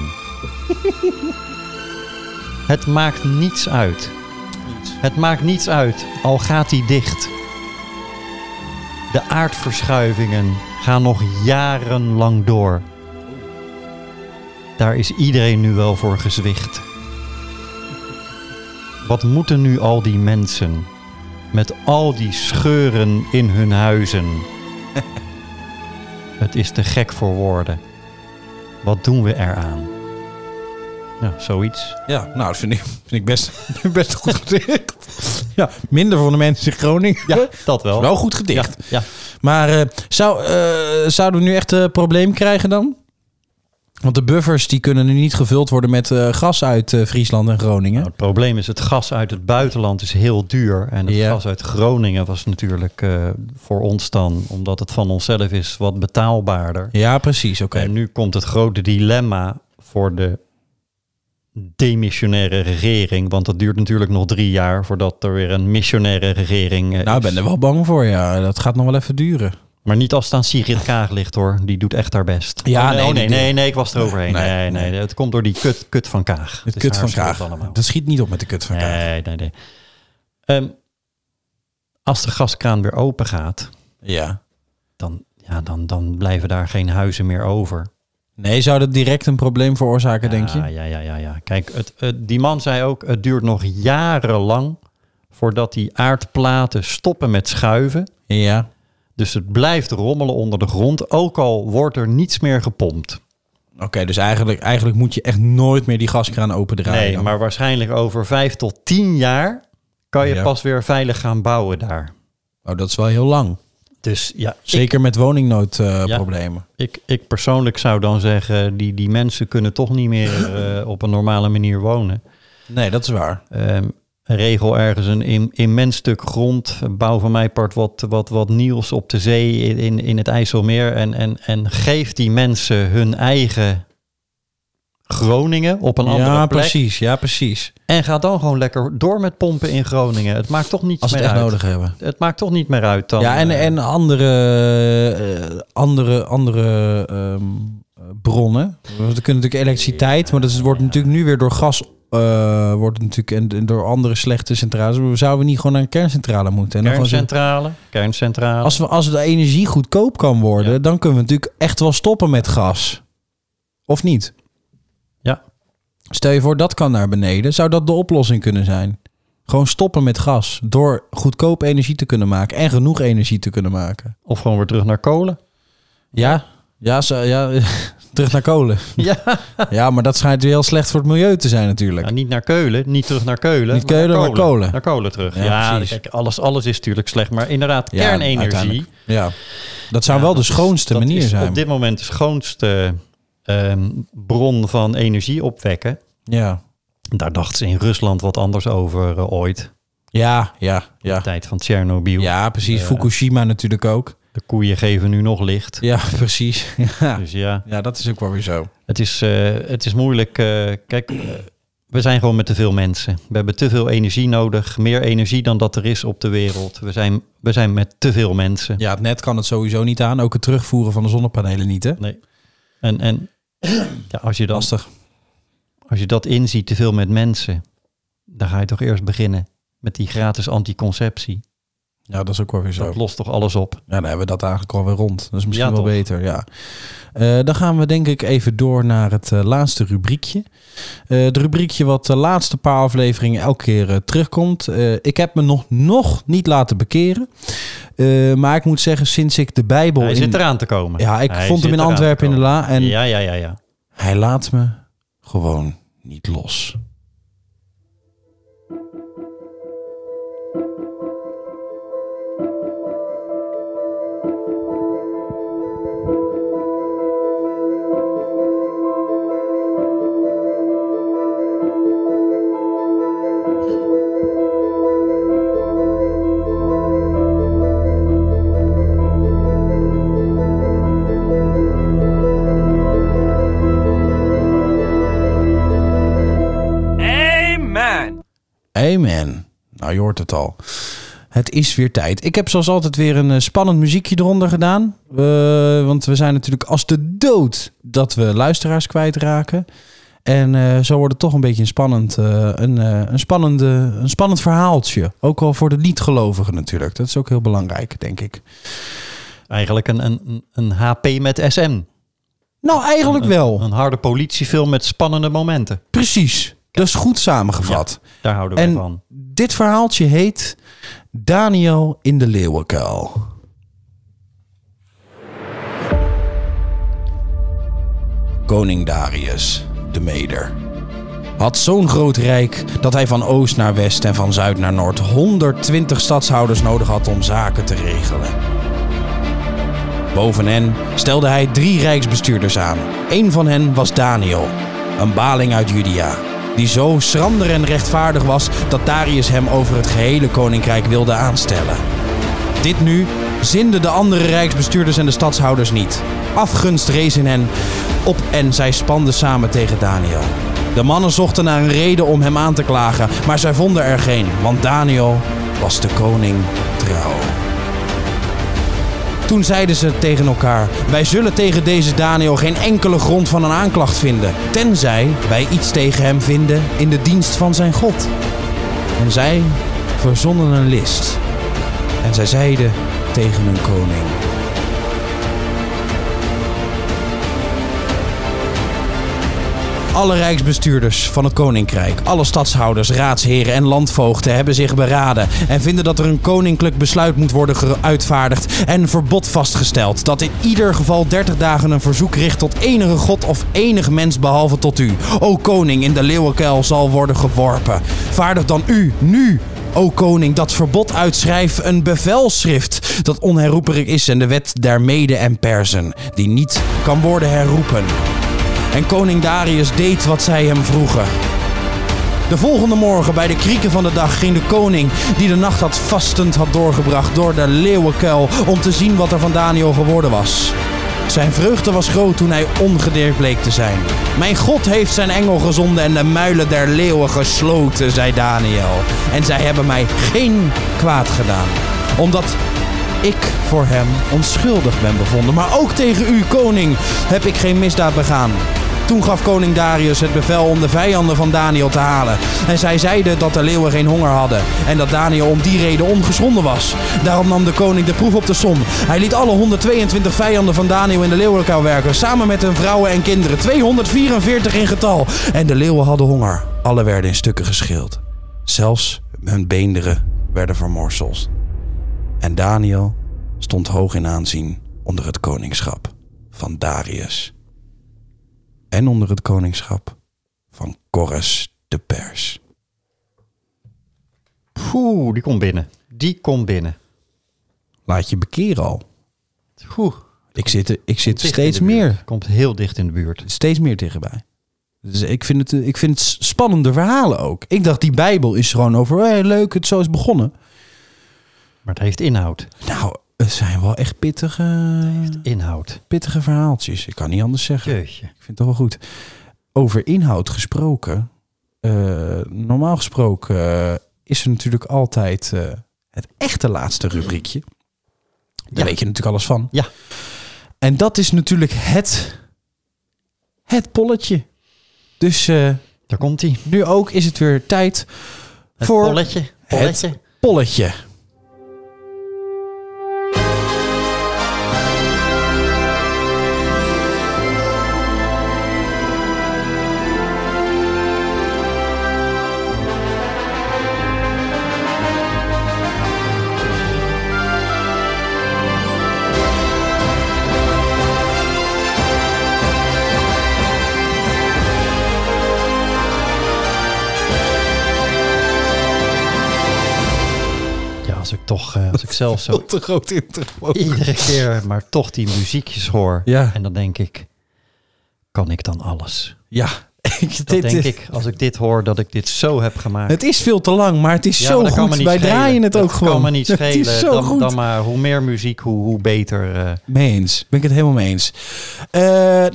Speaker 2: het maakt niets uit. Het maakt niets uit, al gaat hij dicht. De aardverschuivingen gaan nog jarenlang door. Daar is iedereen nu wel voor gezwicht. Wat moeten nu al die mensen met al die scheuren in hun huizen? het is te gek voor woorden. Wat doen we eraan? Ja, zoiets.
Speaker 1: Ja, nou, dat vind ik, vind ik best, best goed gedicht. Ja, minder van de mensen in Groningen.
Speaker 2: Ja, dat wel. Nou,
Speaker 1: Wel goed
Speaker 2: ja,
Speaker 1: gedicht.
Speaker 2: ja.
Speaker 1: Maar eh, zou, eh, zouden we nu echt een probleem krijgen dan? Want de buffers die kunnen nu niet gevuld worden met eh, gas uit eh, Friesland en Groningen.
Speaker 2: Nou, het probleem is, het gas uit het buitenland is heel duur. En het
Speaker 1: Ja.
Speaker 2: gas uit Groningen was natuurlijk eh, voor ons dan, omdat het van onszelf is, wat betaalbaarder.
Speaker 1: Ja, precies. Oké.
Speaker 2: En nu komt het grote dilemma voor de demissionaire regering. Want dat duurt natuurlijk nog drie jaar voordat er weer een missionaire regering eh,
Speaker 1: Nou, ik
Speaker 2: is.
Speaker 1: ben er wel bang voor. Ja, dat gaat nog wel even duren.
Speaker 2: Maar niet als het aan Sigrid Kaag ligt hoor. Die doet echt haar best.
Speaker 1: Ja,
Speaker 2: Oh, nee,
Speaker 1: nee,
Speaker 2: oh, nee,
Speaker 1: die-
Speaker 2: nee, nee, ik was er overheen.
Speaker 1: Nee,
Speaker 2: Nee, nee,
Speaker 1: nee.
Speaker 2: Het komt door die kut, kut van Kaag.
Speaker 1: Het
Speaker 2: is
Speaker 1: kut
Speaker 2: haar
Speaker 1: van
Speaker 2: schuld
Speaker 1: Kaag.
Speaker 2: allemaal.
Speaker 1: Dat schiet niet op met de kut van Kaag.
Speaker 2: Nee, nee, nee. Ehm, als de gaskraan weer open gaat,
Speaker 1: Ja.
Speaker 2: dan, ja, dan, dan blijven daar geen huizen meer over.
Speaker 1: Nee, zou dat direct een probleem veroorzaken, denk
Speaker 2: Ja,
Speaker 1: je?
Speaker 2: Ja, ja, ja. ja. Kijk, het, het- die man zei ook, het duurt nog jarenlang voordat die aardplaten stoppen met schuiven.
Speaker 1: Ja.
Speaker 2: Dus het blijft rommelen onder de grond, ook al wordt er niets meer gepompt.
Speaker 1: Oké, dus eigenlijk, eigenlijk moet je echt nooit meer die gaskraan opendraaien.
Speaker 2: Nee,
Speaker 1: dan.
Speaker 2: maar waarschijnlijk over vijf tot tien jaar kan je
Speaker 1: Ja.
Speaker 2: pas weer veilig gaan bouwen daar.
Speaker 1: Oh, dat is wel heel lang.
Speaker 2: Dus ja, ik,
Speaker 1: Zeker met
Speaker 2: Ja.
Speaker 1: woningnoodproblemen.
Speaker 2: ik, ik persoonlijk zou dan zeggen, die, die mensen kunnen toch niet meer eh, op een normale manier wonen.
Speaker 1: nee, dat is waar.
Speaker 2: Ehm, regel ergens een im- immens stuk grond. Bouw van mij part wat, wat, wat nieuws op de zee in- in, in het IJsselmeer. En, en, en geef die mensen hun eigen Groningen op een andere
Speaker 1: Ja,
Speaker 2: plek.
Speaker 1: precies. Ja, precies.
Speaker 2: En ga dan gewoon lekker door met pompen in Groningen. Het maakt toch niets
Speaker 1: Als we
Speaker 2: meer
Speaker 1: het echt
Speaker 2: uit.
Speaker 1: nodig hebben.
Speaker 2: Het maakt toch niet meer uit dan.
Speaker 1: ja, en,
Speaker 2: eh,
Speaker 1: en andere, eh, andere, andere ehm, eh, bronnen. We kunnen natuurlijk elektriciteit, maar dat is, wordt natuurlijk nu weer door gas. eh, wordt natuurlijk en, en door andere slechte centrales. Maar Zouden we niet gewoon naar een kerncentrale moeten? En dan gewoon zeggen,
Speaker 2: kerncentrale. Kerncentrale.
Speaker 1: als, we, als de energie goedkoop kan worden, dan kunnen we natuurlijk echt wel stoppen met gas. Of niet?
Speaker 2: Ja.
Speaker 1: Stel je voor, dat kan naar beneden. Zou dat de oplossing kunnen zijn? Gewoon stoppen met gas. Door goedkoop energie te kunnen maken. En genoeg energie te kunnen maken.
Speaker 2: Of gewoon weer terug naar kolen.
Speaker 1: Ja, ja, zo, ja terug naar kolen.
Speaker 2: Ja.
Speaker 1: Ja, maar dat schijnt weer heel slecht voor het milieu te zijn natuurlijk.
Speaker 2: Nou, niet naar Keulen. Niet terug naar Keulen.
Speaker 1: Niet
Speaker 2: maar
Speaker 1: Keulen,
Speaker 2: naar
Speaker 1: maar Kolen.
Speaker 2: Naar Kolen terug.
Speaker 1: Ja,
Speaker 2: Ja,
Speaker 1: precies.
Speaker 2: kijk, alles, alles is natuurlijk slecht. Maar inderdaad,
Speaker 1: Ja,
Speaker 2: kernenergie.
Speaker 1: uiteindelijk. Ja, dat zou wel de schoonste
Speaker 2: dat
Speaker 1: manier
Speaker 2: is
Speaker 1: zijn.
Speaker 2: op dit moment de schoonste ehm, bron van energie opwekken.
Speaker 1: Ja,
Speaker 2: Daar dachten ze in Rusland wat anders over eh, ooit.
Speaker 1: ja, ja,
Speaker 2: De
Speaker 1: ja.
Speaker 2: tijd van Tsjernobyl.
Speaker 1: Ja, precies. Fukushima natuurlijk ook.
Speaker 2: De koeien geven nu nog licht.
Speaker 1: Ja, precies. Ja.
Speaker 2: Dus ja,
Speaker 1: ja, dat is ook wel weer zo.
Speaker 2: het is, eh, het is moeilijk. eh, kijk, eh, we zijn gewoon met te veel mensen. We hebben te veel energie nodig. Meer energie dan dat er is op de wereld. We zijn, we zijn met te veel mensen.
Speaker 1: Ja, het net kan het sowieso niet aan. Ook het terugvoeren van de zonnepanelen niet, hè?
Speaker 2: Nee. En, en ja, als, je dan,
Speaker 1: Lastig.
Speaker 2: als je dat inziet, te veel met mensen, dan ga je toch eerst beginnen met die gratis anticonceptie.
Speaker 1: Ja, dat is ook wel weer zo.
Speaker 2: Dat lost toch alles op?
Speaker 1: Ja, dan hebben we dat eigenlijk alweer rond. Dat is misschien
Speaker 2: Ja,
Speaker 1: wel
Speaker 2: toch?
Speaker 1: beter, ja. Eh, dan gaan we denk ik even door naar het eh, laatste rubriekje. Eh het rubriekje wat de laatste paar afleveringen elke keer eh, terugkomt. Eh, ik heb me nog, nog niet laten bekeren. Eh, maar ik moet zeggen, sinds ik de Bijbel...
Speaker 2: Hij
Speaker 1: in-
Speaker 2: zit eraan te komen.
Speaker 1: Ja, ik
Speaker 2: Hij
Speaker 1: vond hem
Speaker 2: zit
Speaker 1: in
Speaker 2: eraan
Speaker 1: Antwerpen in
Speaker 2: te
Speaker 1: de la. En
Speaker 2: komen. Ja, ja, ja, ja.
Speaker 1: hij laat me gewoon niet los. Amen. Nou, je hoort het al. Het is weer tijd. Ik heb zoals altijd weer een eh, spannend muziekje eronder gedaan. Eh, want we zijn natuurlijk als de dood dat we luisteraars kwijtraken. En eh, zo wordt het toch een beetje een spannend, eh, een, eh, een, spannende, een spannend verhaaltje. Ook al voor de niet-gelovigen natuurlijk. Dat is ook heel belangrijk, denk ik.
Speaker 2: Eigenlijk een, een, een HP met SM.
Speaker 1: Nou, eigenlijk wel.
Speaker 2: Een harde politiefilm met spannende momenten.
Speaker 1: Precies. Dat is goed samengevat.
Speaker 2: Daar houden we
Speaker 1: En
Speaker 2: van.
Speaker 1: dit verhaaltje heet Daniel in de Leeuwenkuil. Koning Darius, de Meder, had zo'n groot rijk dat hij van oost naar west en van zuid naar noord 120 stadshouders nodig had om zaken te regelen. Boven hen stelde hij drie rijksbestuurders aan. Eén van hen was Daniel, een baling uit Judea, die zo schrander en rechtvaardig was dat Darius hem over het gehele koninkrijk wilde aanstellen. Dit nu zinden de andere rijksbestuurders en de stadshouders niet. Afgunst rees in hen op en zij spanden samen tegen Daniel. De mannen zochten naar een reden om hem aan te klagen, maar zij vonden er geen, want Daniel was de koning trouw. Toen zeiden ze tegen elkaar: Wij zullen tegen deze Daniel geen enkele grond van een aanklacht vinden, tenzij wij iets tegen hem vinden in de dienst van zijn God. En zij verzonnen een list. En zij zeiden tegen hun koning: Alle rijksbestuurders van het Koninkrijk, alle stadshouders, raadsheren en landvoogden hebben zich beraden en vinden dat er een koninklijk besluit moet worden ge- uitvaardigd en een verbod vastgesteld dat in ieder geval 30 dagen een verzoek richt tot enige god of enig mens behalve tot u. O koning, in de leeuwenkuil zal worden geworpen. Vaardig dan u, nu, O koning, dat verbod uitschrijf een bevelschrift dat onherroepelijk is en de wet der mede en persen, die niet kan worden herroepen. En koning Darius deed wat zij hem vroegen. De volgende morgen bij de krieken van de dag ging de koning, die de nacht had vastend had doorgebracht, door de leeuwenkuil om te zien wat er van Daniel geworden was. Zijn vreugde was groot toen hij ongedeerd bleek te zijn. Mijn God heeft zijn engel gezonden en de muilen der leeuwen gesloten, zei Daniel. En zij hebben mij geen kwaad gedaan, omdat ik voor hem onschuldig ben bevonden. Maar ook tegen u, koning, heb ik geen misdaad begaan. Toen gaf koning Darius het bevel om de vijanden van Daniel te halen. En zij zeiden dat de leeuwen geen honger hadden. En dat Daniel om die reden ongeschonden was. Daarom nam de koning de proef op de som. Hij liet alle 122 vijanden van Daniel in de leeuwenkou werken. Samen met hun vrouwen en kinderen. 244 in getal. En de leeuwen hadden honger. Alle werden in stukken geschild. Zelfs hun beenderen werden vermorseld. En Daniel stond hoog in aanzien onder het koningschap van Darius en onder het koningschap van Corus de Pers.
Speaker 2: Oeh, die komt binnen. Die komt binnen.
Speaker 1: Laat je bekeren al.
Speaker 2: Oeh.
Speaker 1: Ik zit, er- ik zit er
Speaker 2: Dicht
Speaker 1: steeds
Speaker 2: in de buurt.
Speaker 1: meer,
Speaker 2: Komt heel dicht in de buurt.
Speaker 1: steeds meer tegenbij. Dus ik vind, het, eh, ik vind het s- spannende verhalen ook. Ik dacht, die Bijbel is gewoon over, hey, leuk, het zo is begonnen.
Speaker 2: Maar het heeft inhoud.
Speaker 1: Nou, het zijn wel echt pittige,
Speaker 2: Inhoud.
Speaker 1: pittige verhaaltjes. Ik kan niet anders zeggen.
Speaker 2: Jeetje.
Speaker 1: Ik vind het toch wel goed. Over inhoud gesproken. eh, normaal gesproken eh, is er natuurlijk altijd eh, het echte laatste rubriekje. Daar
Speaker 2: Ja.
Speaker 1: weet je natuurlijk alles van.
Speaker 2: Ja.
Speaker 1: En dat is natuurlijk het, het polletje. Dus eh,
Speaker 2: Daar komt hij.
Speaker 1: nu ook is het weer tijd
Speaker 2: Het
Speaker 1: voor
Speaker 2: polletje. Polletje.
Speaker 1: het polletje.
Speaker 2: Ja, als ik toch, eh, als ik zelf zo
Speaker 1: te groot intro.
Speaker 2: iedere keer maar toch die muziekjes hoor.
Speaker 1: Ja.
Speaker 2: En dan denk ik, kan ik dan alles?
Speaker 1: Ja, dit,
Speaker 2: Dat denk
Speaker 1: dit-
Speaker 2: ik, als ik dit hoor, dat ik dit zo heb gemaakt.
Speaker 1: Het is veel te lang, maar het is
Speaker 2: Ja,
Speaker 1: zo
Speaker 2: maar dat kan me
Speaker 1: goed.
Speaker 2: niet
Speaker 1: Wij
Speaker 2: schelen.
Speaker 1: draaien het
Speaker 2: Dat
Speaker 1: ook gewoon.
Speaker 2: kan me niet schelen.
Speaker 1: Het is zo
Speaker 2: dan,
Speaker 1: goed.
Speaker 2: dan maar hoe meer muziek, hoe, hoe beter. eh.
Speaker 1: Mee eens. Ben ik het helemaal mee eens. Eh,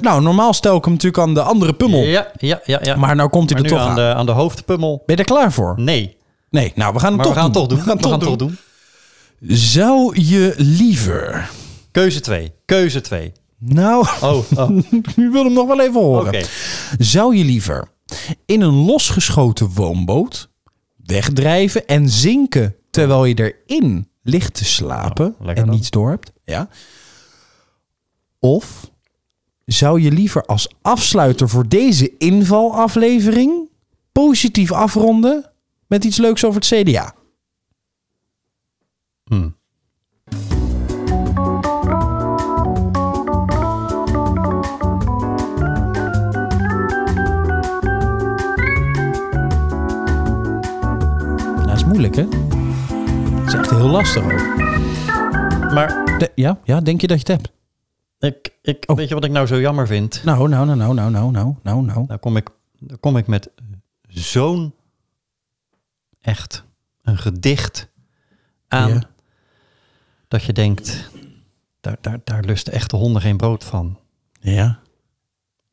Speaker 1: nou, normaal stel ik hem natuurlijk aan de andere pummel.
Speaker 2: Ja, ja, ja. ja.
Speaker 1: Maar nou komt hij
Speaker 2: Maar
Speaker 1: er
Speaker 2: nu
Speaker 1: toch
Speaker 2: aan,
Speaker 1: aan.
Speaker 2: De, aan de hoofdpummel.
Speaker 1: Ben je er klaar voor?
Speaker 2: Nee,
Speaker 1: Nee, nou, we gaan het
Speaker 2: maar
Speaker 1: toch,
Speaker 2: we gaan het
Speaker 1: doen.
Speaker 2: toch doen.
Speaker 1: We gaan het
Speaker 2: We gaan
Speaker 1: toch
Speaker 2: het
Speaker 1: doen.
Speaker 2: toch doen.
Speaker 1: Zou je liever...
Speaker 2: Keuze 2. Keuze 2.
Speaker 1: Nou,
Speaker 2: Oh, oh, oké.
Speaker 1: nu wil hem nog wel even horen. Zou je liever in een losgeschoten woonboot wegdrijven en zinken terwijl je erin ligt te slapen
Speaker 2: Nou, lekker
Speaker 1: en
Speaker 2: dan.
Speaker 1: niets door hebt? Ja. Of zou je liever als afsluiter voor deze invalaflevering positief afronden met iets leuks over het CDA?
Speaker 2: Hm.
Speaker 1: Nou, Dat is moeilijk, hè? Dat is echt heel lastig ook.
Speaker 2: Maar
Speaker 1: De- ja, ja, denk je dat je het hebt?
Speaker 2: ik, ik,
Speaker 1: Oh.
Speaker 2: weet je wat ik nou zo jammer vind?
Speaker 1: Nou, nou, nou, nou, nou, nou, nou, nou, nou.
Speaker 2: Nou kom ik, dan kom ik met zo'n echt een gedicht aan
Speaker 1: Ja.
Speaker 2: dat je denkt, daar, daar, daar lusten echte honden geen brood van.
Speaker 1: Ja.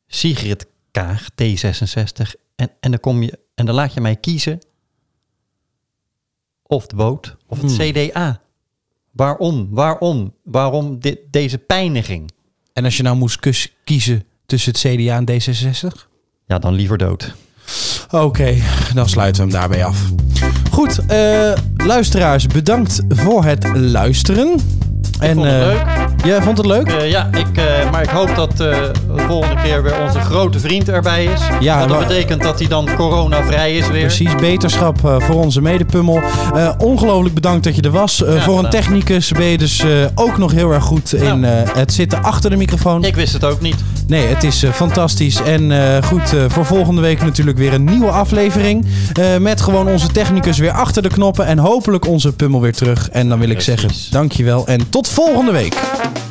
Speaker 2: Sigrid Kaag, T66. En, en, dan kom je, en dan laat je mij kiezen of de boot of het
Speaker 1: Hmm.
Speaker 2: CDA. Waarom? Waarom? Waarom dit, deze pijniging?
Speaker 1: En als je nou moest kus- kiezen tussen het CDA en D66?
Speaker 2: Ja, dan liever dood.
Speaker 1: Oké, dan sluiten we hem daarbij af. Goed, eh, luisteraars, bedankt voor het luisteren.
Speaker 2: vond het
Speaker 1: eh, Jij vond het leuk?
Speaker 2: Eh, ja, ik, eh, maar ik hoop dat eh, de volgende keer weer onze grote vriend erbij is.
Speaker 1: Ja,
Speaker 2: Want dat
Speaker 1: maar-
Speaker 2: betekent dat hij dan coronavrij is weer.
Speaker 1: Precies, beterschap eh, voor onze medepummel. Eh ongelooflijk bedankt dat je er was. Eh,
Speaker 2: Ja,
Speaker 1: voor een
Speaker 2: gedaan.
Speaker 1: technicus ben je dus eh, ook nog heel erg goed in
Speaker 2: Nou.
Speaker 1: eh, het zitten achter de microfoon.
Speaker 2: Ik wist het ook niet.
Speaker 1: Nee, het is eh, fantastisch. En eh, goed, eh, voor volgende week natuurlijk weer een nieuwe aflevering. Eh, met gewoon onze technicus weer achter de knoppen. En hopelijk onze pummel weer terug. En dan wil ik zeggen, dankjewel en tot volgende week.